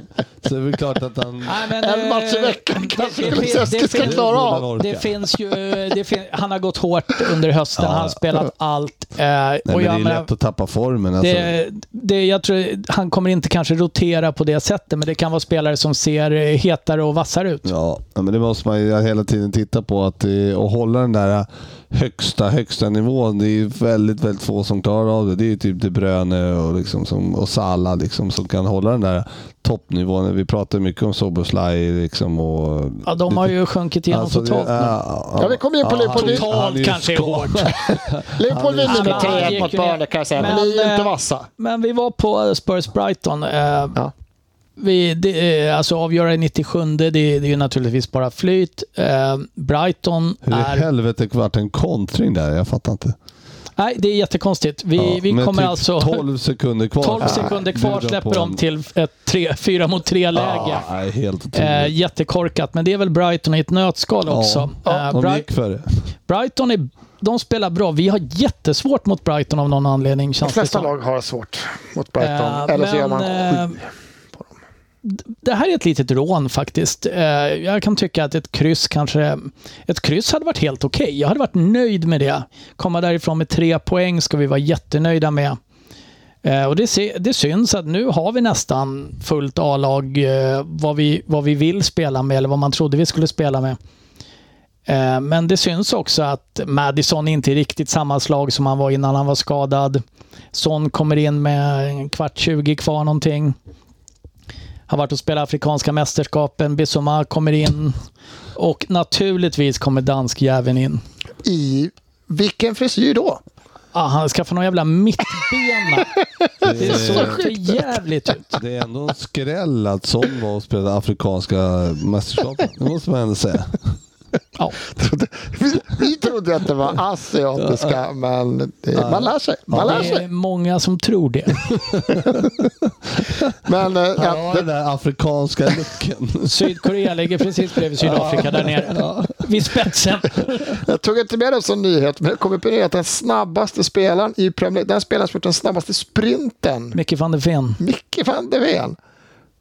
Så det är väl klart att han... Nej, men, En match i eh, veckan det- kanske det- det- Kulusevski det ska finns- klara borde av. han orka. Det finns ju, det fin- han har gått hårt under hösten. Ja. Han har spelat allt. Eh, Nej, och men det är jag menar, lätt att tappa formen. Alltså. det, det, jag tror han kommer inte kanske rotera på det sättet, men det kan vara spelare som ser eh, hetare och vassare ut. Ja, ja, men det måste man ju hela tiden titta på. Att, eh, och hålla den där högsta, högsta nivån. Det är ju väldigt, väldigt få som klarar av det. Det är ju typ De Bruyne och, liksom som, och Salah liksom, som kan hålla den där toppnivån. Vi pratar ju mycket om Soboslaj liksom, och... Ja, de har ju sjunkit igenom Alltså, det- totalt nu. ja, Ja, vi kommer in på han- Liverpool. han är ju Totalt kanske är skadad. hårt. Liverpool Han- vinner med han- han 3-1 gick mot ju Burnley ner. kan jag säga. Men Men, ni är inte eh, vassa. Men vi var på Spurs Brighton. Eh, Ja. vi, det, eh, alltså avgöra i 97, det, det är ju naturligtvis bara flyt. Eh, Brighton Hur i är... helvete vart det en kontring där? Jag fattar inte. Nej, det är jättekonstigt. Vi, Ja, vi med kommer typ alltså... 12 sekunder kvar. Äh, 12 sekunder kvar Bjuda släpper på de en- till ett 4 mot 3-läge. Ah, nej, helt otroligt. Eh, jättekorkat, men det är väl Brighton i ett nötskal också. Eh, de Bri- gick för det. Brighton är, de spelar bra. Vi har jättesvårt mot Brighton av någon anledning. De Känns det flesta som. lag har svårt mot Brighton. Eh, Eller så gör men, man eh, sju. d- Det här är ett litet rån faktiskt. Eh, Jag kan tycka att ett kryss kanske... Ett kryss hade varit helt okej. Jag hade varit nöjd med det. Komma därifrån med tre poäng ska vi vara jättenöjda med. Eh, Och det, se- det syns att nu har vi nästan fullt A-lag eh, vad vi, vad vi vill spela med eller vad man trodde vi skulle spela med. Eh, Men det syns också att Madison inte är riktigt samma slag som han var innan han var skadad. Son kommer in med en kvart 20 kvar någonting. Har varit och spelat Afrikanska mästerskapen. Bissoma kommer in. Och naturligtvis kommer danskjäveln in. I vilken frisyr då? Ah, han skaffar någon jävla mittbena. Det Eh, såg för jävligt ut. Det är ändå en skräll att Son var och spelade Afrikanska mästerskapen. Det måste man ändå säga. Ja. Vi, vi trodde att det var asiatiska, men det, man lär sig. Man lär Det är sig. många som tror det. Men eh, Han har ja, den det, där afrikanska looken. Sydkorea ligger precis bredvid Sydafrika där nere. Vid spetsen. jag tog inte med det som nyhet, men jag kommer på det att den snabbaste spelaren i Premier League, den spelaren som gjort den snabbaste sprinten Micke van der Ven. Micke van der Ven.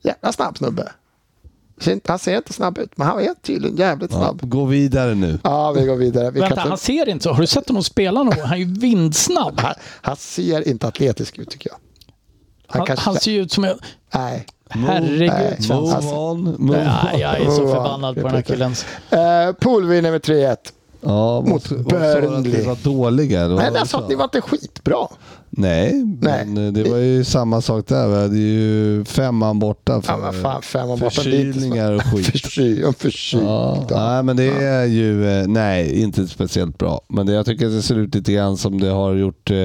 Jävla snabb snubbe. Ser inte- Han ser inte snabb ut, men han är tydligen jävligt snabb. Gå vidare nu. Ja, vi går vidare. Vi Vänta, kan han inte, ser inte så. Har du sett honom spela någon gång? Han är ju vindsnabb. han, han ser inte atletisk ut tycker jag. Han, Han, kanske... han ser ju ut som en... Nej. Herregud, Svensson. Move Alltså- on. Move Nej, on. jag är så Wow. förbannad på den här killen. Eh, Pool vinner med 3-1. Ja, Mot vad- vad sa du att Burnley. ni var dåliga? eller vad Nej, men var jag alltså, det sa alltså, du att ni var inte skitbra. Nej, men eh, det var ju samma sak där. Vi hade ju femman borta för Ja, men fan, fem och borta. det är inte så- Mm. förkylningar och [laughs] skit. Försky, en förkyld. Ja, Ja. nej, men det är ju eh, nej, inte speciellt bra. Men det, jag tycker att det ser ut lite grann som det har gjort. Eh,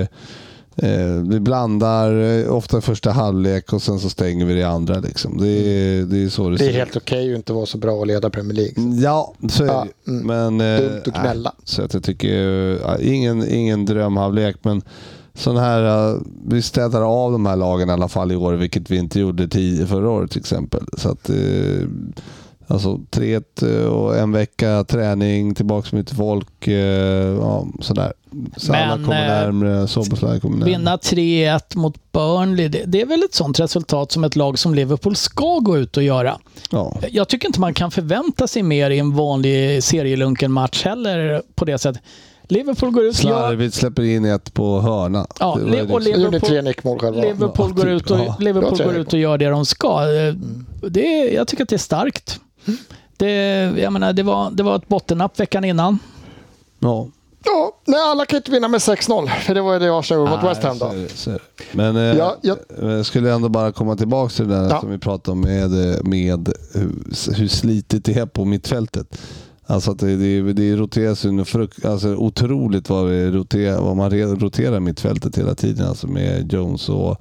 eh, vi blandar eh, ofta första halvlek och sen så stänger vi det andra. Liksom. Det, är, det är så det, Det är ser helt okej att inte vara så bra att leda Premier League. ut. Ja, så är liksom. Ja, mm. det ju. Men, eh, Dumt att gnälla. nej, Så att jag tycker, eh, ingen, ingen drömhalvlek, men sån här, eh, vi städar av de här lagen i alla fall i år, vilket vi inte gjorde tio, förra året till exempel. Så att, eh, alltså 3 och en vecka träning, tillbaka med lite folk, eh, ja, sådär. Salla Men, kommer eh, närmre, Soboslaj kommer närmre. Vinna 3-1 mot Burnley, det, det är väl ett sånt resultat som ett lag som Liverpool ska gå ut och göra. Ja. Jag tycker inte man kan förvänta sig mer i en vanlig serielunken match heller på det sättet. Liverpool går ut... Ja, Slarvigt släpper in ett på hörna. Ja, Det var ju och liksom- De gjorde Liverpool- tre nickmål själva. Liverpool, Ja, går, typ. ut och, Ja, Liverpool bra går träning. ut och gör det de ska. Eh, Det, är- jag tycker att det är starkt. Det, jag menar, det, var, det var ett bottennapp veckan innan. ja. Ja, nej, alla kan inte vinna med 6-0, för det var ju det Arsenal gjorde mot West Ham. Så Då. är det, så är det. Men eh, Ja, jag- jag skulle ändå bara komma tillbaka till det där Ja. som vi pratade om med, eh, med hur, hur slitigt det är på mittfältet. Alltså att det, det, det roteras ju något fruk- alltså otroligt vad, det roterar, vad man re- roterar mittfältet hela tiden. Alltså med Jones och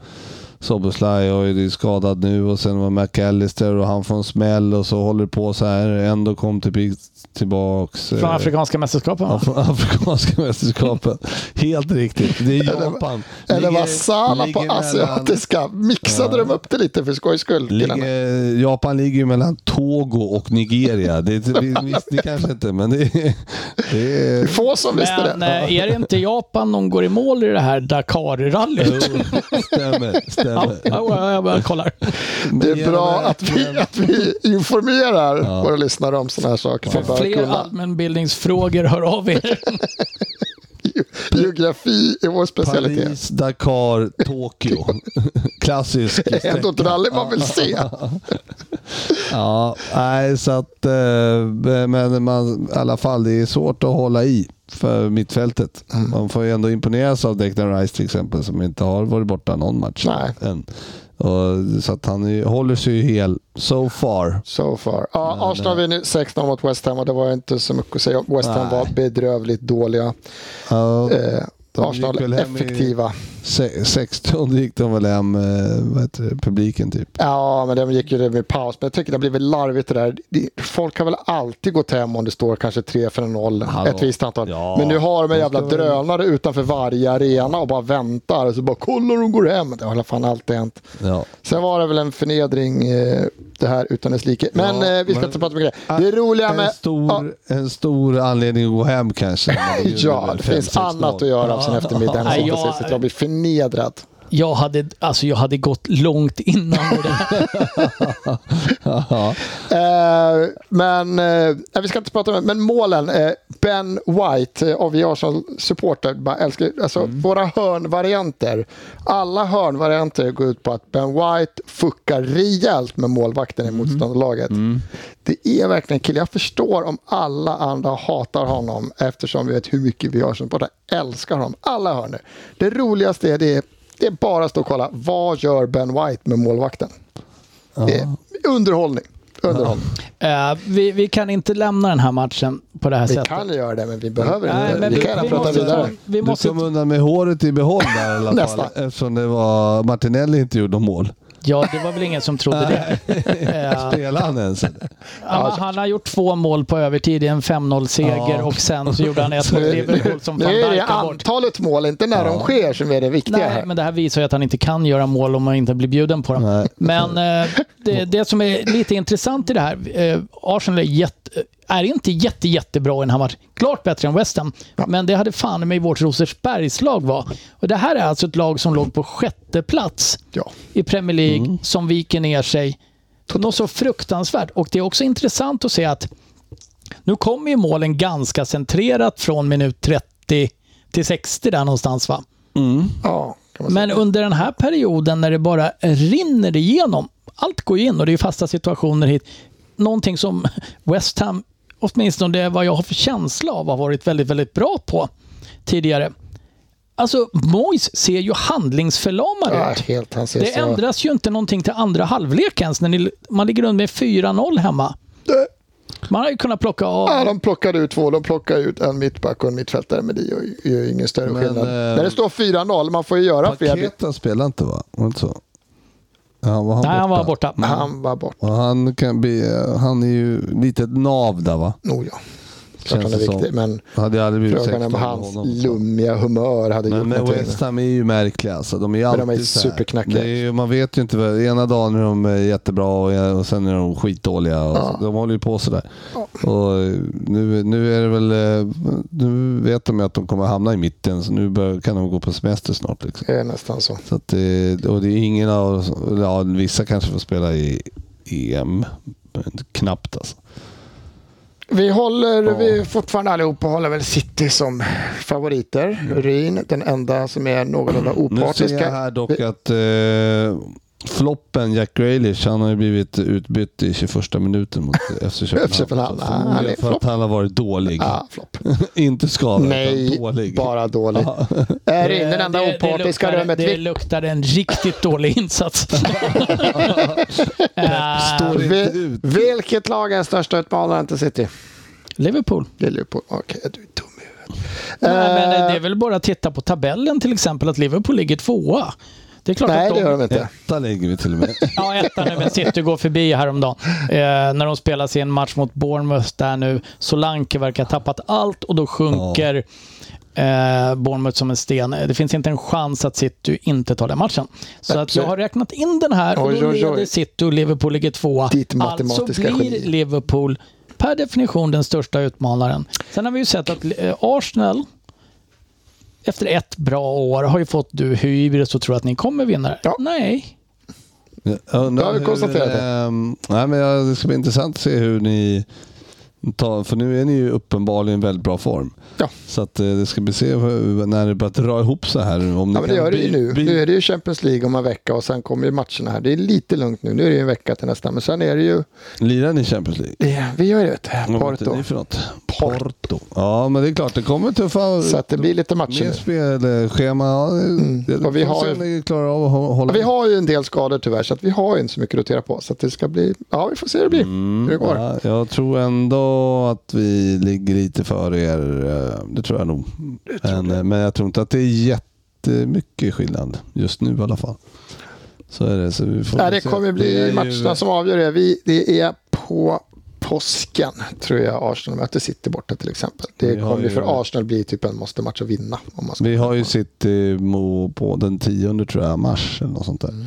Soboslaj och är det skadad nu och sen var McAllister och han får en smäll och så håller det på så här. Ändå kom till, tillbaks. Från eh, Afrikanska mästerskapen. Ja, va? från [laughs] afrikanska mästerskapen. Helt riktigt. Det är Japan. Eller Ligger- var Sala på ligger mellan- asiatiska? Mixade de upp det lite för skojs skull? killarna? Ligger, Japan ligger ju mellan Togo och Nigeria. Det, det, visst, det kanske inte, men det är... Det är Få som visste Men det. eh, är det inte Japan de går i mål i det här [laughs] Dakar-rallyt? stämmer. Ja, stämmer. jag, jag, jag kollar. Det är bra men- att vi, att vi informerar våra lyssnare om sådana här saker. För att Fler kunna allmänbildningsfrågor hör av er. geografi är vår specialitet. Paris, Dakar, Tokyo. Klassisk. Det är ändå ett rally man vill se. Ja, nej, så att... eh, Men man, i alla fall, det är svårt att hålla i för mittfältet. Man får ju ändå imponeras av Declan Rice till exempel, som inte har varit borta någon match Nej. än. Och, så att han är, ju- håller sig ju hel, so far. So far. Ja, Arsenal vinner 6-0 mot West Ham och det var inte så mycket att säga om. West Ham var bedrövligt dåliga. Ja, Eh, De Arsenal gick väl hem i- effektiva. se- 16 gick de väl hem, eh, vad heter det, publiken typ. Ja, men de gick ju det med paus. Men jag tycker det har blivit larvigt det där. Det- Folk har väl alltid gått hem om det står kanske 3-4-0, Hallå. ett visst antal. Ja. Men nu har de en jävla De ska väl- drönare utanför varje arena och bara väntar. Och så bara kolla de går hem. Det har i alla fall alltid hänt. Ja. Sen var det väl en förnedring eh, det här utan dess like. Men Ja, eh, vi ska men- inte prata mycket om det. Det roliga med... en, stor, en stor anledning att gå hem kanske. Men gjorde [laughs] Ja, väl det fem, finns sex annat noll. att göra på sin eftermiddag än att Nej, sitta och jag- se sitt lag bli förnedrad. Jag hade, alltså, jag hade gått långt innan med det här. Eh, men eh, nej, vi ska inte prata om det, men målen. Eh, ben White, eh, och vi Arsenal-supporter, bara älskar alltså, våra hörnvarianter. Alla hörnvarianter går ut på att Ben White fuckar rejält med målvakten i motståndarlaget. Det är verkligen en kille. Jag förstår om alla andra hatar honom eftersom vi vet hur mycket vi Arsenal-supportrar älskar honom. Alla hörn. Det roligaste är det, det är bara att stå och kolla. Vad gör Ben White med målvakten? Det är underhållning. Underhållning. Eh, vi, vi kan inte lämna den här matchen på det här Vi sättet. kan göra det, men vi behöver Nej, inte. men vi, vi- kan gärna vi prata måste- vidare. Vi Du måste kom undan med håret i behåll där [laughs] i alla fall. Nästan. Eftersom det var Martinelli inte gjorde mål. Ja, det var väl ingen som trodde det. Eh, Spelade han ens? han, han har gjort två mål på övertid i en 5-0-seger Ja. och sen så gjorde han ett mot Liverpool som [laughs] Nu van är det Dijk tar bort. antalet mål, inte när de sker, som är det viktiga Nej, här. men det här visar ju att han inte kan göra mål om han inte blir bjuden på dem. Nej. Men eh, det, det som är lite intressant i det här, eh, Arsenal är, jätte, är inte jätte, jättebra i den här matchen. Klart bättre än West Ham, men det hade fan mig vårt Rosersbergslag var. Och det här är alltså ett lag som låg på sjätte plats Ja. Mm. i Premier League som viker ner sig. Något så fruktansvärt. Och det är också intressant att se att nu kommer ju målen ganska centrerat från minut 30 till 60 där någonstans va. Ja, kan man säga. Men under den här perioden när det bara rinner igenom, allt går ju in och det är fasta situationer hit. Någonting som West Ham, åtminstone det är vad jag har för känsla av, har varit väldigt, väldigt bra på tidigare. Alltså, Moyes ser ju handlingsförlamad Ja, ut. helt han ser Det så- ändras ju inte någonting till andra halvlek ens när ni, man ligger under med 4-0 hemma. Det- Man har ju kunnat plocka av... Ja, de plockade ut två. De plockade ut en mittback och en mittfältare, men det gör ju- gör ju ingen större Men, skillnad. eh, När det står 4-0, man får ju göra fler byten. Paketa spelade inte va? Var det inte så? Ja, var han Nej, han var borta. Mm. Han var bort. Och han, kan bli, han är ju lite ett nav där va? Oh, ja. Klart han är det som. viktig, men Hade jag aldrig blivit frågan är 16 om med hans honom. lummiga humör hade gjort Men, men någonting. West Ham är ju märkliga alltså. De är ju Men de alltid är så här. superknackiga. Det är ju- Man vet ju inte. vad- Ena dagen är de eh, jättebra och, och sen är de skitdåliga. Och Ja. så, de håller ju på sådär. Och eh, nu, nu är det väl... eh, Nu vet de ju att de kommer hamna i mitten. Så nu bör, kan de gå på semester snart. Liksom. Det är nästan så. Så att det, och det är ingen av... Ja, E vissa kanske får spela i EM. Men knappt alltså. Vi håller, vi fortfarande allihopa håller väl City som favoriter. Urin, den enda som är någorlunda Mm. Nu ser jag opartiska. här dock att eh, floppen Jack Grealish, han har ju blivit utbytt i 21 [laughs] minuten mot FC FC Köpenhamn. Köpenhamn. Ah, han är för flopp. att han har varit dålig. Ah, flopp. [laughs] Inte skadad, Nej, utan dålig. bara dåligt. [laughs] Är Urin, den enda eh, det- det opartiska luktar- rummet. Det Vi, luktar en riktigt [laughs] dålig insats. Eh, Står inte vi, ut. vilket lag är största utmanaren till City? Liverpool. Det är Liverpool. Okej, du är dum i huvudet. Nej, men Eh, det är väl bara att titta på tabellen till exempel, att Liverpool ligger tvåa. Det är klart Nej, att det de... gör de inte. Etta lägger vi till [laughs] och med. Ja, ettan nu, men City går förbi häromdagen. Eh, när de spelar sin match mot Bournemouth där nu. Solanke verkar ha tappat allt och då sjunker eh, Bournemouth som en sten. Eh, Det finns inte en chans att City inte tar den matchen. Så att jag har räknat in den här och Oj, då oj, oj. leder City och Liverpool ligger tvåa. Ditt Alltså matematiska geni. blir Liverpool per definition den största utmanaren. Sen har vi ju sett att eh, Arsenal efter ett bra år har ju fått du hybris och tror att ni kommer vinna det. Ja. Nej. Jag undrar Då har vi hur, konstaterat det. ehm, nej, men jag- det ska bli intressant att se hur ni tar, för nu är ni ju uppenbarligen i väldigt bra form. Ja. Så att eh, det ska bli se hur, när det börjar dra ihop så här. Om ni Ja, men det kan gör det ju by- nu. by- Nu är det ju Champions League om en vecka och sen kommer ju matcherna här. Det är lite lugnt nu. Nu är det ju en vecka till nästa. Men sen är det ju... Lirar ni Champions League? Ja, vi gör det, vet du. Vad heter Porto. ni för något? Porto. Ja, men det är klart. Det kommer tuffa... Så att det blir lite matcher Mer nu. Mm. spelschema. Ja, det- det- Och vi får har se ju- om ni klarar av att hå- hålla... Vi har ju en del skador tyvärr, så att vi har ju inte så mycket att rotera på. Så att det ska bli... Ja, vi får se hur det blir. Hur det går. Mm. Ja, jag tror ändå att vi ligger lite före er. eh, Det tror jag nog. men, eh, men jag tror inte att det är jättemycket skillnad just nu i alla fall. Så är det. Så vi får Ja, det se. kommer bli är ju- matcherna som avgör det. Vi, det är på påsken, tror jag, Arsenal möter City borta till exempel. Det Vi har kommer ju ju- för Arsenal bli typ en måste-match att vinna. Om man ska Vi har ju City mo- på den 10 tror jag, mars eller något sånt där. Mm.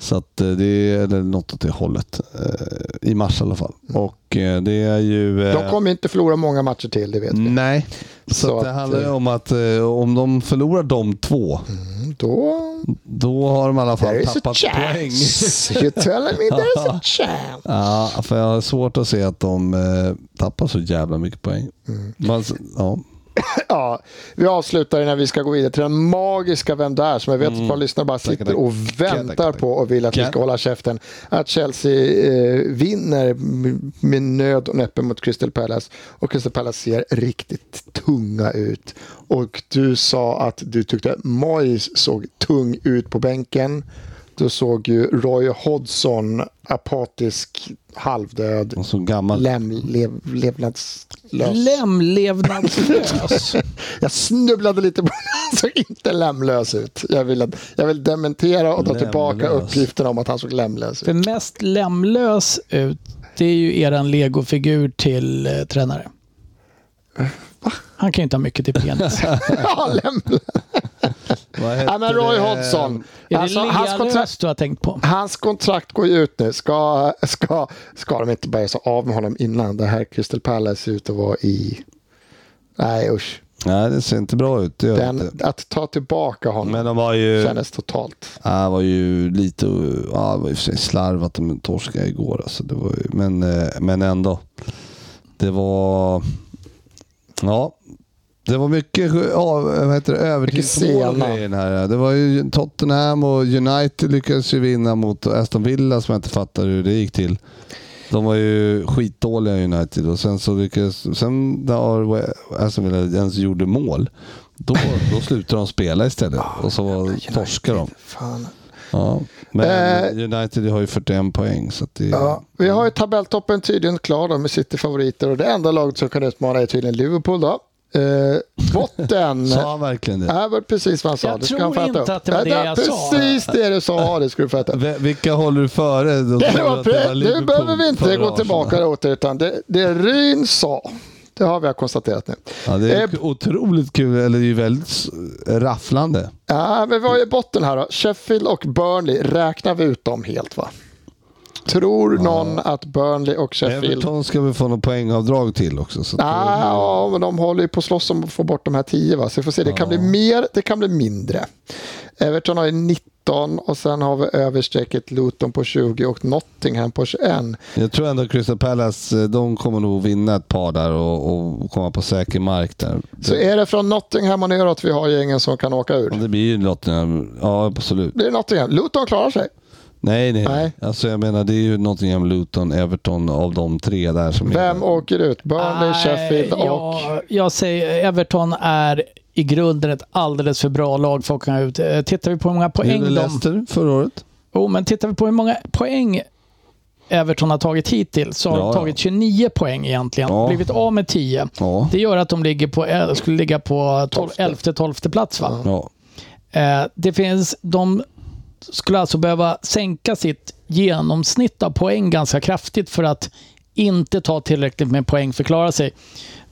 Så att eh, det är eller något åt det hållet. eh, I mars i alla fall. Och eh, det är ju... eh, De kommer inte förlora många matcher till, det vet vi. Nej, så, Så att det att, handlar ju eh, Mm. om att eh, om de förlorar de två, Då då har de i alla There fall is a tappat poäng. chance. You telling me there's a chance. [laughs] Ja, för jag har svårt att se att de eh, tappar så jävla mycket poäng. Mm. Man, s- ja. Ja, vi avslutar innan vi ska gå vidare till den magiska Vem det är som jag vet att ett par lyssnare bara sitter och väntar på och vill att vi ska hålla käften. Att Chelsea eh, vinner m- med nöd och näppe mot Crystal Palace och Crystal Palace ser riktigt tunga ut. Och du sa att du tyckte att Moyes såg tung ut på bänken. Då såg ju Roy Hodgson apatisk, halvdöd, De är så gammal. Läm, lev, levnadslös. Lämlevnadslös. jag snubblade lite på [laughs] han såg inte lämlös ut. Jag vill, att- jag vill dementera och ta Lämlös. tillbaka uppgiften om att han såg lämlös För ut. mest lämlös ut, det är ju eran legofigur till eh, tränare. Han kan ju inte ha mycket [laughs] till penis. [laughs] ja, lämlös. Vad heter Nej, men Roy det? Hodgson. Är Alltså, det hans, kontrakt, lealös du har tänkt på? hans kontrakt går ju ut nu. Ska, ska, ska de inte börja så av med honom innan? Det här Crystal Palace ser ut att vara i... Nej, usch. Nej, det ser inte bra ut. Det gör det Den, inte. att ta tillbaka honom Men eh, de var ju... kändes totalt. Ja, det var ju lite ja, det var i och för sig slarv att de torskade igår. Alltså, det var ju, men, eh, men ändå. Det var... Ja. Det var mycket ja, vad heter det, övertidsmål och sena. grejer i den här. Det var ju Tottenham och United lyckades ju vinna mot Aston Villa som jag inte fattar hur det gick till. De var ju skitdåliga United och sen så lyckades... Sen när Aston Villa ens gjorde mål, då, då slutade de spela istället och så var, torskade de. Fan. Ja, men United har ju 41 poäng. Så att det, Eh, Ja, vi har ju tabelltoppen tydligen klar då med City-favoriter och det enda laget som kan utmana är tydligen Liverpool då. Eh, botten [laughs] Sa han verkligen det? är väl precis vad han sa. Jag det ska tror han få äta inte upp. att det var det jag sa. Precis det du sa, det skulle du få äta upp. V- vilka håller du före? [laughs] Då Det tror jag var att det var pre- nu Liverpool behöver vi inte före gå Arsenal. tillbaka åt det, utan det, det Ryn sa, det har vi konstaterat nu. Ja, det är Eh, ju otroligt kul, eller det är ju väldigt s- rafflande. Ja, men vi har ju botten här då. Sheffield och Burnley, räknar vi ut dem helt va? Tror någon att Burnley och Sheffield... Everton ska vi få något poängavdrag till också. Så att Ah, ja, men de håller ju på att slåss om att få bort de här tio. Va? Så vi får se, det kan bli mer, det kan bli mindre. Everton har ju 19 och sen har vi överstrecket Luton på 20 och Nottingham på 21. eh, Jag tror ändå Crystal Palace, eh, de kommer nog vinna ett par där och, och komma på säker mark där. Så är det från Nottingham och neråt vi har gängen som kan åka Ja, ur. det blir ju Nottingham. Ja, absolut. Blir det Nottingham? Luton klarar sig. Nej, nej. Nej. Alltså jag menar, det är ju Nottingham, Luton, Everton av de tre där som Vem åker ut? Burnley, Nej, Sheffield och... Jag, jag säger Everton är i grunden ett alldeles för bra lag för att åka ut. Eh, Tittar vi på hur många är Hur poäng är de... Leicester förra året? Oh, men tittar vi på hur många poäng Everton har tagit hittills så har Ja, de ja. tagit 29 poäng egentligen. Ja. Blivit av med 10. Ja. Det gör att de ligger på, el- skulle ligga på 12, 11 12 plats. Va? ja. Eh, det finns, de skulle alltså behöva sänka sitt genomsnitt av poäng ganska kraftigt för att inte ta tillräckligt med poäng för att klara sig.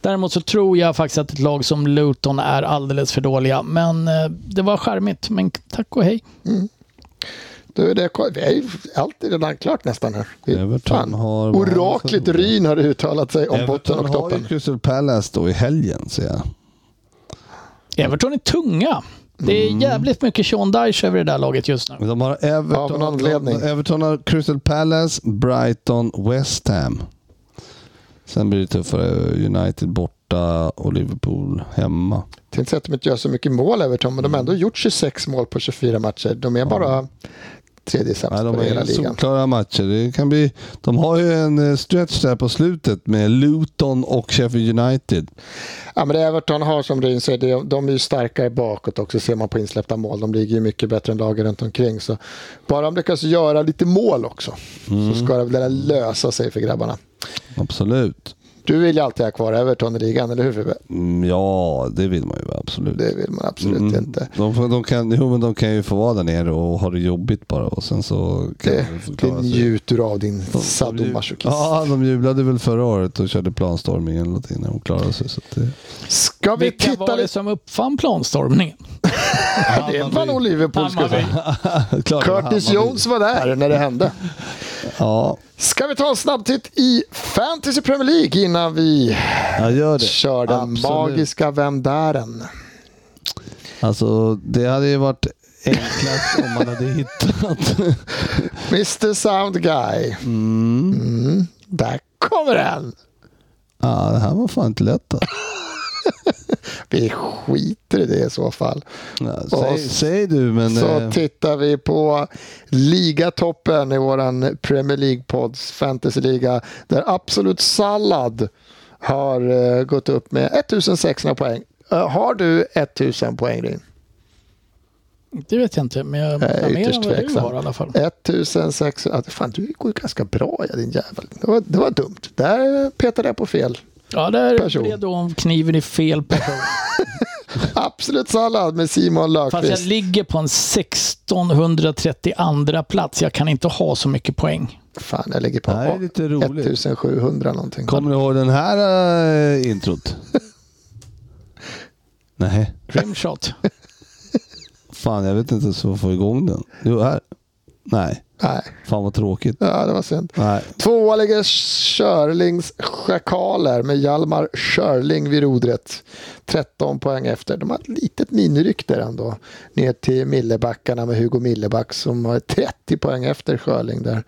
Däremot så tror jag faktiskt att ett lag som Luton är alldeles för dåliga. Men eh, det var charmigt. Men tack och hej. Du, det är, vi är ju alltid redan klart nästan här. Vi, Everton fan. har- Oraklet Ryn har uttalat sig om botten Everton och har ju toppen. Crystal Palace då i helgen, ser jag. Everton är tunga. Det är jävligt mycket Sean Dyche över det där laget just nu. De har Av Everton, någon anledning. Everton har Crystal Palace, Brighton, West Ham. Sen blir det tuffare. United borta och Liverpool hemma. Tänkte säga att de inte gör så mycket mål Everton, men de har ändå gjort 26 mål på 24 matcher. De är bara tredje sämst Nej, de på hela är ligan. solklara matcher. Det kan bli, de har ju en eh, stretch där på slutet med Luton och Sheffield United. Ja, men det Everton har som Ryn säger, det- de är ju starkare bakåt också ser man på insläppta mål. De ligger ju mycket bättre än lagen runt omkring. Så bara de lyckas göra lite mål också så ska det väl lösa sig för grabbarna. Absolut. Du vill ju alltid ha kvar Everton i ligan, eller hur Fibbe? Mm, Ja, det vill man ju. Absolut. Det vill man absolut inte. De, får- de, Mm. kan, jo, men de kan ju få vara där nere och ha det jobbigt bara och sen så kan Det, de det förklara sig. njuter du av din De- de sadomasochism. Ja, de jublade väl förra året och körde planstorming eller någonting när de klarade sig. Så att det... [laughs] Ska vi Vilka titta var det lite? som uppfann planstormningen? Det var nog Liverpool. ska jag säga. Klart, Curtis Hammarby. Jones var där när det hände. Ja, Ska vi ta en snabb titt i Fantasy Premier League innan vi jag gör det. kör den Absolut. magiska Vem Dären? Alltså, det hade ju varit enklast om man hade hittat. [laughs] Mr Sound Guy. Mm. Där kommer den. Ja, det här var fan inte lätt. Då. Vi skiter i det i så fall. Ja, Och säg, s- säg du, men... Så eh, tittar vi på ligatoppen i våran Premier League-pods fantasyliga där Absolut Sallad har eh, gått upp med 1600 poäng. Eh, har du 1000 poäng Rin? Det vet jag inte, men jag planerar ytterst vad du tveksam. har i alla fall. 1600... ah, Fan, du går ju ganska bra ja, din jävel. Det var, det var dumt. Där eh, petade jag på fel. [laughs] Ja, där Person. blev då kniven i fel person. Absolut Sallad med Simon Fast jag Löfqvist. ligger på en 1632 plats. Jag kan inte ha så mycket poäng. Fan, jag ligger på Det här är lite roligt. 1700 någonting. Kommer du ihåg den här [laughs] eh, introt? Nej, Rimshot. fan jag vet inte ens hur jag får igång den. Jo, här. Nej, Nej, fan vad tråkigt. ja, det var synd. Nej, Tvåa ligger Schörlings Schakaler med Hjalmar Schörling vid rodret. 13 poäng efter. De har ett litet miniryck där ändå. Ner till Millebackarna med Hugo Milleback som har 30 poäng efter Schörling där.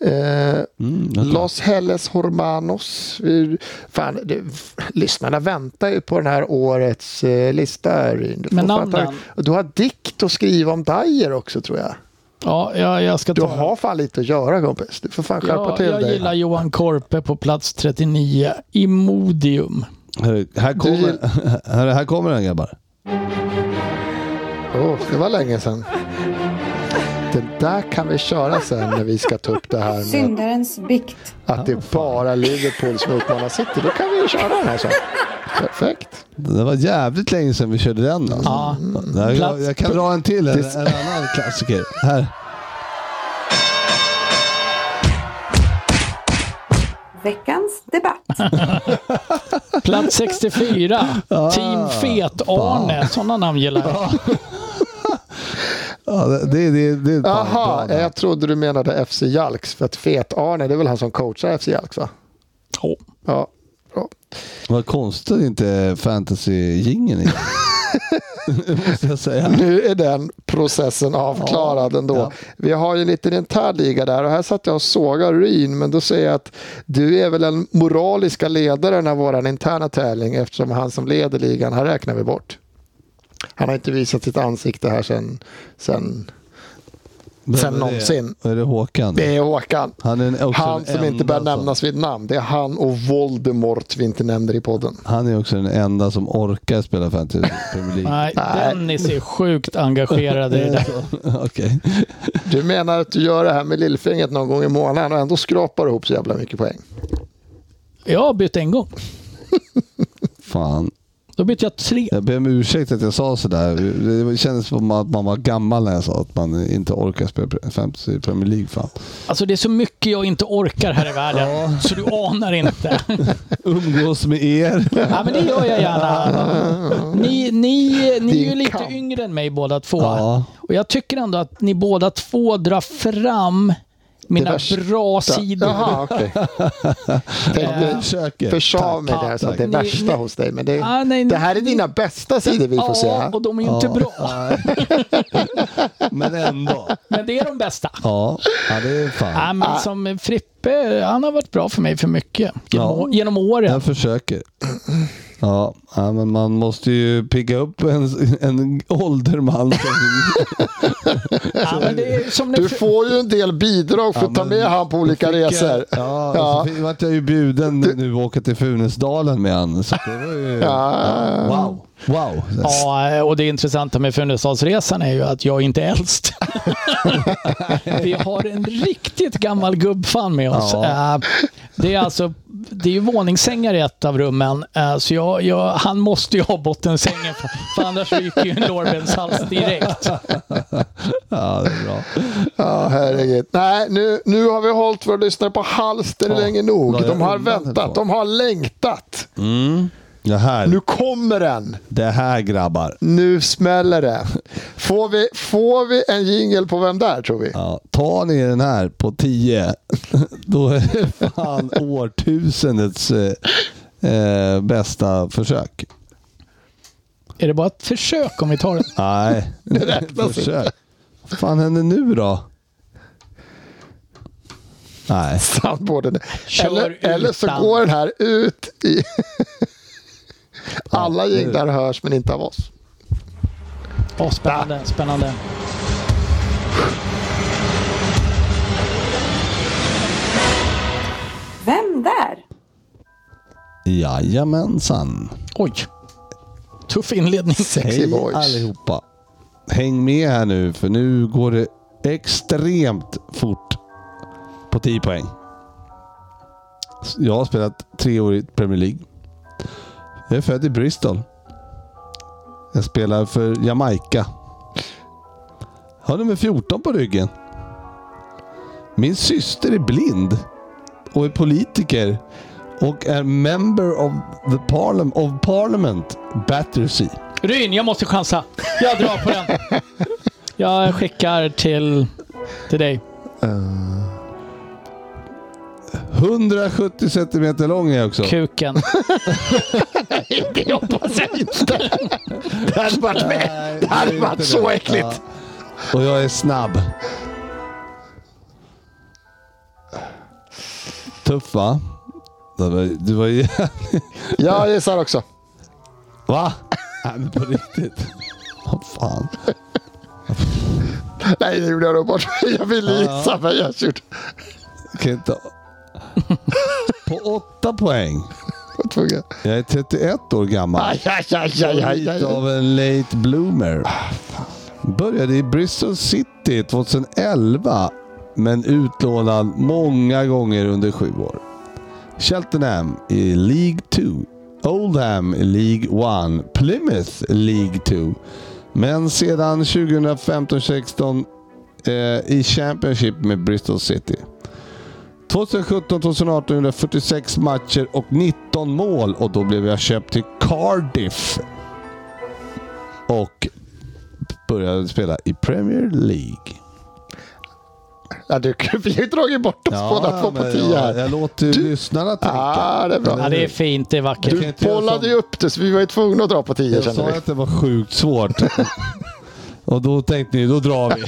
Eh, mm, vänta. Los Helles Hormanos. Vi- Fan, det, lyssnarna väntar ju på den här årets eh, lista. här. Du får Men fan ta- namnen? Du har dikt att skriva om Dyer också tror jag. Ja, jag, jag ska Du ta har fan lite att göra kompis. Du får fan skärpa ja, till Jag dig. gillar Johan Korpe på plats 39. Imodium. Hörru, här, gill- kommer, [laughs] hörru, här kommer den grabbar. Åh, det var länge sedan. Det där kan vi köra sen när vi ska ta upp det här med Syndarens bikt. att det är bara Liverpool som utmanar City. Då kan vi ju köra den här sen. Perfekt. Det var jävligt länge sedan vi körde den. Alltså. Ja. Mm. Det här- Jag, Plats- jag kan dra en till, en, Tills- en annan klassiker. Här. Veckans debatt. Plats 64. [laughs] Ah, Team Fet-Arne. Sådana namn gillar jag. Ja, det, det, det, det är ett par Jaha, bra där. jag trodde du menade FC Jalks för att Fet-Arne, det är väl han som coachar FC Jalks va? Åh. Ja, bra. [laughs] Vad konstigt inte fantasy-jingeln är. måste jag säga. Nu är den processen avklarad ändå. ja. Vi har ju lite intern liga där och här satt jag och sågade Ryn men då säger jag att du är väl den moraliska ledaren av vår interna tävling eftersom han som leder ligan, han räknar vi bort. Han har inte visat sitt ansikte här sen, sen Vem Sen är det? någonsin. Är det Håkan? det är Håkan. Han är en- alltså. också Han den som inte enda bör som- nämnas vid namn. Det är han och Voldemort vi inte nämner i podden. Han är också den enda som orkar spela fantasy Premier League. Nej, Dennis är sjukt engagerad i det [laughs] där. [laughs] Okej. Du menar att du gör det här med lillfingret någon gång i månaden och ändå skrapar ihop så jävla mycket poäng. Jag har bytt en gång. Fan. Då bytte jag tre. Jag ber om ursäkt att jag sa sådär. Det kändes som att man var gammal när jag sa att man inte orkar spela fantasy Premier League. Fan. Alltså det är så mycket jag inte orkar här i världen, så du anar inte. [laughs] Umgås med er. Ja, men det gör jag gärna. Ni, ni, ni är ju Din lite kamp. yngre än mig båda två. [laughs] Ja. Och jag tycker ändå att ni båda två drar fram Det mina värsta. bra sidor. Jaha, [laughs] okej. Eh, Tänkte- Försöker. Försa mig där så att det är Ni- värsta hos dig. Men det, Ah, nej, det nej. här är dina bästa sidor vi får Ja, se. och de är ju inte bra. [laughs] Men ändå. Men det är [laughs] de bästa. Ja, ja det är fan. Ja, men som Frippe, han har varit bra för mig för mycket. Genom, Ja. genom åren. Jag försöker. Ja, ja, men man måste ju pigga upp en, en [laughs] ålderman. som- Ja, men det är som när Du Fri- får ju en del bidrag för att ta men- med han på olika resor. Ja, Ja. och så fick- vart jag ju bjuden nu och åka till Funäsdalen med han. Så det var ju... Ja. Wow. Wow. Ja, eh, och det intressanta med Funäsdalsresan är ju att jag inte är äldst. [laughs] Vi har en riktigt gammal gubbfan med oss. Ja. Eh, Det är alltså det är ju våningssängar i ett av rummen, eh, så jag, jag, han måste ju ha bottensängen, för, för annars ryker ju en lårbenshals direkt. Ja, det är bra. Ja, herregud. Nej, nu, nu har vi hållit våra lyssnare på halster länge nog. Ja, jag De har undrar väntat, inte. de har längtat. Det här, Nu kommer den. det här grabbar. Nu smäller det. Får vi, får vi en jingel på vem där tror vi? Ja, tar ni den här på 10, [laughs] då är det fan årtusendets eh, eh, bästa försök. Är det bara ett försök om vi tar den? [laughs] Nej, räknas försök. Vad fan händer nu då? Nej. Sandboarden. Kör Eller, eller så utan. går den här ut i... Alla nu. jinglar hörs men inte av oss. Åh, spännande, spännande. Vem där? Jajamensan. Oj. Tuff inledning. Sexy Hej boys. allihopa. Häng med här nu för nu går det extremt fort på 10 poäng. Jag har spelat tre år i Premier League. Jag är född i Bristol. Jag spelar för Jamaica. Har nummer 14 på ryggen. Min syster är blind och är politiker och är member of the parliament, of parliament Battersea. Ryn, jag måste chansa. Jag drar på den. Jag skickar till, till dig. 170 centimeter lång är jag också. Kuken. Det hoppas jag inte. Det hade varit, med. Det hade varit så äckligt. Och jag är snabb. Tuff va? Det var- Du var ju... [laughs] Jag gissar också. Va? Nej men på riktigt. Vad fan. Nej, det gjorde jag nog bort [laughs] mig. Jag ville gissa men jag gjorde Jag Kan inte... På åtta poäng. jag tvungen. Jag är 31 år gammal. Aj, aj, aj, aj, aj, aj. Lite av en late bloomer. Ah, Började i Bristol City 2011, men utlånad många gånger under sju år. Cheltenham i League 2. Oldham i League 1. Plymouth League 2. Men sedan 2015-16 eh, i Championship med Bristol City. 2017-2018 gjorde jag 46 matcher och 19 mål och då blev jag köpt till Cardiff. Och började spela i Premier League. Ja, du, vi har ju dragit bort oss båda två på men tio här. jag, jag låter ju lyssnarna tänka. ah, det är bra. Ja, det är fint, det är vackert. Du- kan Du inte göra bollade som- ju upp det, så vi var ju tvungna att dra på tio Jag kände sa vi. att det var sjukt [laughs] svårt. Och då tänkte ni, då drar vi.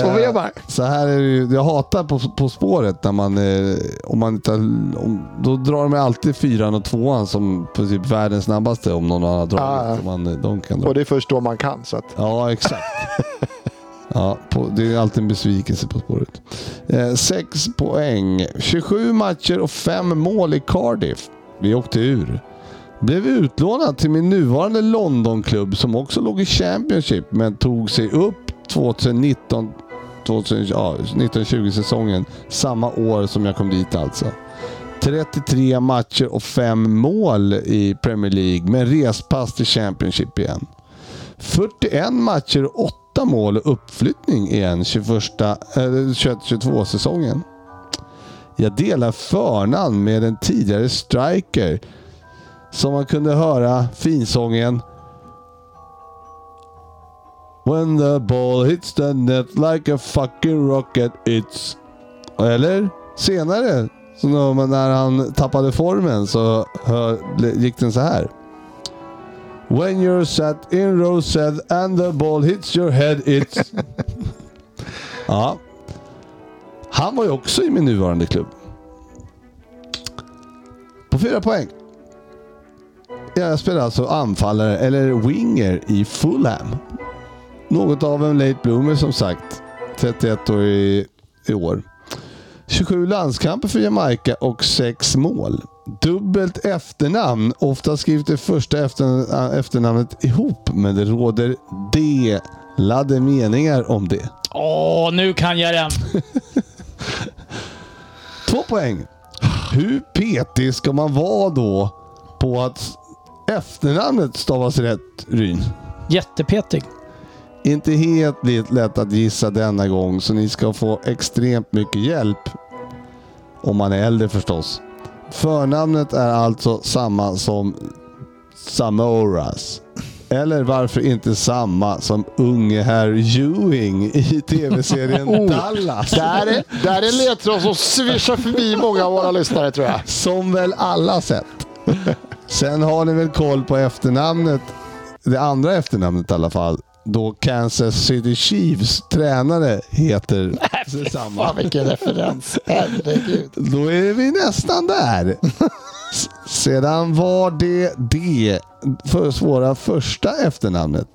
Så vi bara. [laughs] Så här är det ju, jag hatar på, på spåret när man, eh, om man inte, har- om, då drar de alltid fyran och tvåan som princip världens snabbaste om någon annan har Ja, ja. dragit. som Man, eh, de kan dra. Och det är först då man kan. Så att, Ja, exakt. Ja, på, det är alltid en besvikelse på spåret. 6 poäng. 27 matcher och 5 mål i Cardiff. Vi åkte ur. Blev utlånad till min nuvarande Londonklubb som också låg i Championship men tog sig upp 2019 2000, ja, 1920 säsongen. Samma år som jag kom dit alltså. 33 matcher och 5 mål i Premier League med respass till Championship igen. 41 matcher och 8 mål och uppflyttning i en 21-22 säsongen. Jag delar förnamn med en tidigare striker som man kunde höra finsången When the ball hits the net like a fucking rocket it's... Eller? Senare, så när man- när han tappade formen så hör, gick den så här. When you're sat in row said and the ball hits your head it's... ja. Han var ju också i min nuvarande klubb. På fyra poäng. Jag spelar alltså anfallare, eller winger, i Fulham. Något av en late bloomer som sagt. 31 år i, i år. 27 landskamper för Jamaica och 6 mål. Dubbelt efternamn. Ofta skrivs det första efter, äh, efternamnet ihop, men det råder delade meningar om det. Åh, nu kan jag den! Två poäng. Hur petig ska man vara då på att efternamnet stavas rätt, Ryn? Jättepetig. Inte helt lätt- lätt att gissa denna gång, så ni ska få extremt mycket hjälp. Om man är äldre förstås. Förnamnet är alltså samma som Samoras. Eller varför inte samma som unge herr Ewing [laughs] i tv-serien Dallas? där, är, där är en ledtråd som svischar förbi många av våra lyssnare tror jag. Som väl alla sett. Sen har ni väl koll på efternamnet. Det andra efternamnet i alla fall. Då Kansas City Chiefs tränare heter detsamma. Fan vilken referens. Herregud. Då är vi nästan där. S- Sedan var det det för svåra första efternamnet.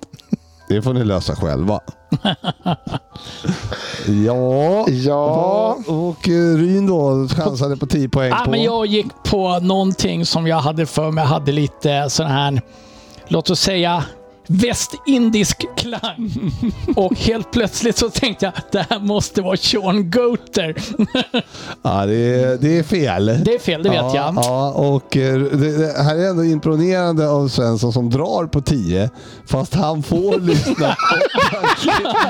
Det får ni lösa själva. Ja, Ja. och eh, Ryn då chansade på 10 poäng Ah, på. men jag gick på någonting som jag hade för mig hade lite sån här, låt oss säga, västindisk klang. Och helt plötsligt så tänkte jag det här måste vara Sean Goater. Ja, det är, det är fel. Det är fel, det vet ja, jag. Ja, och eh, det, det här är ändå imponerande av Svensson som drar på 10 fast han [laughs] får lyssna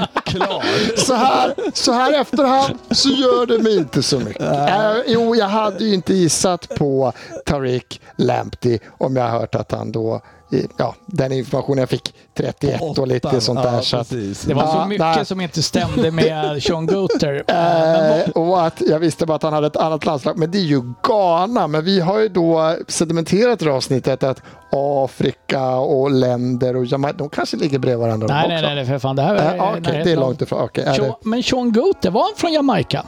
på klar. Så här, så här efterhand så gör det mig inte så mycket. Äh, jo, jag hade ju inte gissat på Tariq Lamptey om jag hört att han då, i- ja, den information jag fick, 31 och lite sånt där. Ja, Så att, precis. Det var så Ja, nej. mycket som inte stämde med Sean Goater. [laughs] Eh, och att jag visste bara att han hade ett annat landslag. Men det är ju Ghana. Men vi har ju då sedimenterat i det här avsnittet att Afrika och länder och Jamaica, de kanske ligger bredvid varandra de Nej, också. nej, nej, nej, för fan. Det här är Eh, okej, det är långt ifrån. Okej, är det, Sean, men Sean Goater, var han från Jamaica?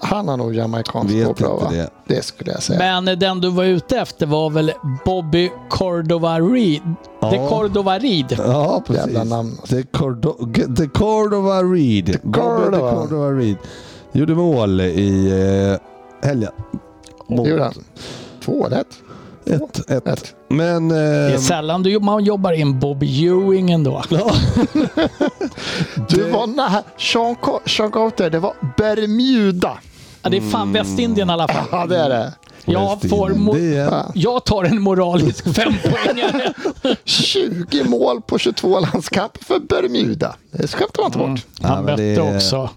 han har nog jamaicanskt Vet påbrå, inte va? det. det skulle jag säga. Men den du var ute efter var väl Bobby Cordova Reed? De Cordova Reed. Ja, precis. Jävla namn. The, Cordo- G- The Cordova Reed. The The Cordova. Cordova Reed. Gjorde mål i eh, helgen. det gjorde han. Två rätt. Ett, ett. Ett. Men... Eh, Det är sällan du, man jobbar in Bobby Ewing ändå. Du var nära. Sean, Co- Sean Carter, det var Bermuda. Ja, det är Mm. fan Västindien i alla fall. Ja, det är det. Jag, får mo- Det är- jag tar [laughs] en moralisk fempoängare. 20 mål på 22 landskamper för Bermuda. Det skämtar man inte bort. Ja, Han men mötte det är- också.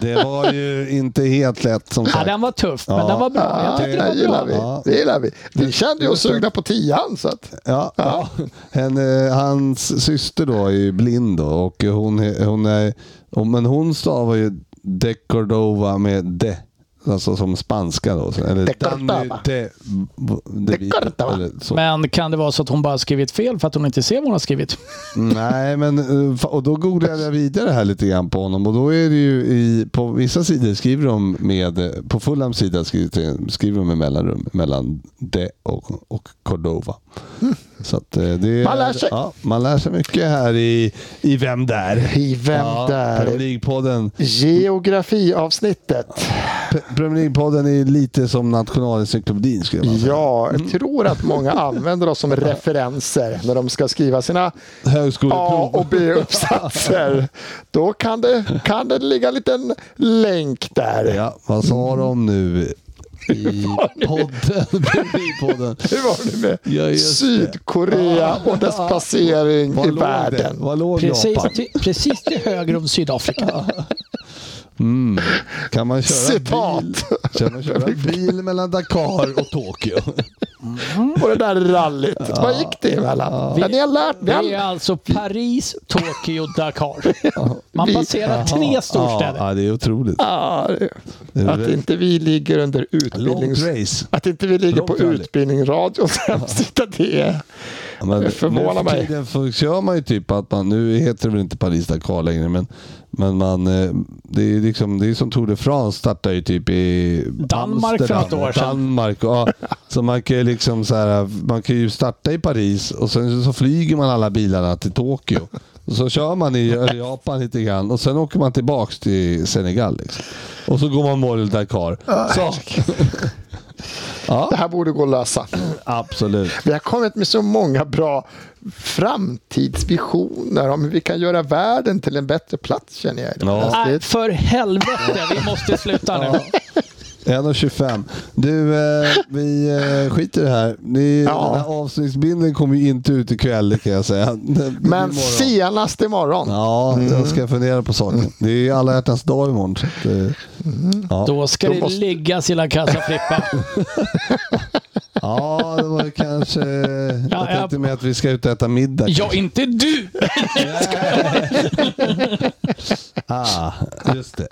Det var ju inte helt lätt som Ja, sagt. den var tuff, men Ja. den var bra. Jag Ja, tyckte det den var gillar bra. vi. Det gillar vi. Vi kände ju oss sugna på tian. Så att, Ja, ja. En, eh, hans syster då är ju blind då, och hon, är- hon är, och- men hon stavar ju de Cordova med de. Alltså som spanska då. så- Eller De Cordova. de, de, De Cordova. eller så. Men kan det vara så att hon bara skrivit fel för att hon inte ser vad hon har skrivit? Nej, men eh, fa- och då googlade jag vidare här lite grann på honom och då är det ju i, på vissa sidor skriver de med, eh, på Fulhams sida skriver, skriver de med mellanrum mellan de och, och [laughs] Cordova. Så att eh, det är, Man lär sig. Ja, man lär sig mycket här i, i Vem där? I Vem där? Premier League-podden. Geografiavsnittet. P- Premier League-podden är lite som nationalencyklopedin skulle man säga. Ja, Mm. jag tror att många använder oss [laughs] som referenser när de ska skriva sina A Högskoleprov. och [laughs] B-uppsatser. Då kan det, kan det ligga en liten länk där. Ja, vad sa de nu [laughs] i podden? Premier League-podden. Hur var det med Ja, just det. Ah. Sydkorea och dess placering Vad i låg det? världen? Vad låg Precis, Japan? till- precis till höger om Sydafrika. Kan man köra Citat. bil? Kan man köra [laughs] bil mellan Dakar och Tokyo? Och det där rallyt. Ah. Vad gick det emellan? Ja, ni har lärt Det är er. alltså Paris, Tokyo, Dakar. Man passerar tre storstäder. Ja, det är otroligt. Ja, det- Det är Att väl- inte vi ligger under Långt utbildnings... race. Att inte vi ligger Långt på rally. utbildningsradions hemsida, det är... Ja, men Det förvånar nu för mig. tiden för- kör man ju typ att man, nu heter det väl inte Paris Dakar längre, men, men man, eh, det är liksom, det är som Tour de France startade ju typ i Danmark för Amsterdam, något år sedan. Danmark, ja. Så man kan ju liksom så här, man kan ju starta i Paris och sen så flyger man alla bilarna till Tokyo. Och så kör man i Japan lite grann och sen åker man tillbaks till Senegal. Liksom. Och så går man mål Dakar. Så. Det här borde gå att lösa. [laughs] Absolut. Vi har kommit med så många bra framtidsvisioner om hur vi kan göra världen till en bättre plats, känner jag. Ja. Nej, för helvete, vi måste sluta nu. 1.25. Du, eh, vi eh, skiter i det här. Ni, Ja. Den här avsnittsbilden kommer ju inte ut ikväll, det kan jag säga. [laughs] Den blir Men imorgon. senast imorgon. Ja, Mm. jag ska fundera på saken. Det är alla hjärtans dag imorgon. så att, eh, Ja, Då ska Då det måste- ligga sina kassa Frippa. ja, det var ju kanske... [laughs] Jag Ja, tänkte jag- med att vi ska ut och äta middag. Ja, inte du! Ah, just det.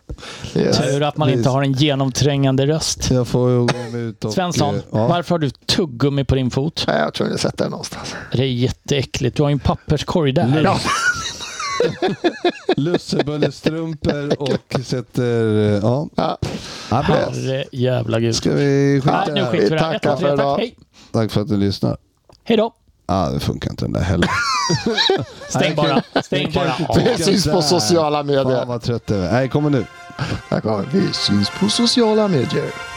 Yes. Tur att man inte har en genomträngande röst. Jag får ju gå ut och... eh, Svensson, Ja. varför har du tuggummi på din fot? Nej, Jag tror ni har sett det någonstans. Det är jätteäckligt. Du har ju en papperskorg där. Ja. [laughs] Lussebullestrumpor och sätter... eh, Ja. Ja. ja bra. Herre jävla gud. Ska vi skita Nej, i det nu här? skiter vi i det här. tackar Ett, två, tre, för tack. idag. Hej. Tack för att du lyssnar. Hej då. Ah, det funkar inte den där heller. Stäng bara. Stäng bara av. Vi syns på sociala medier. Fan vad trött jag är. Nej, kommer nu. Där kommer Vi Vi syns på sociala medier.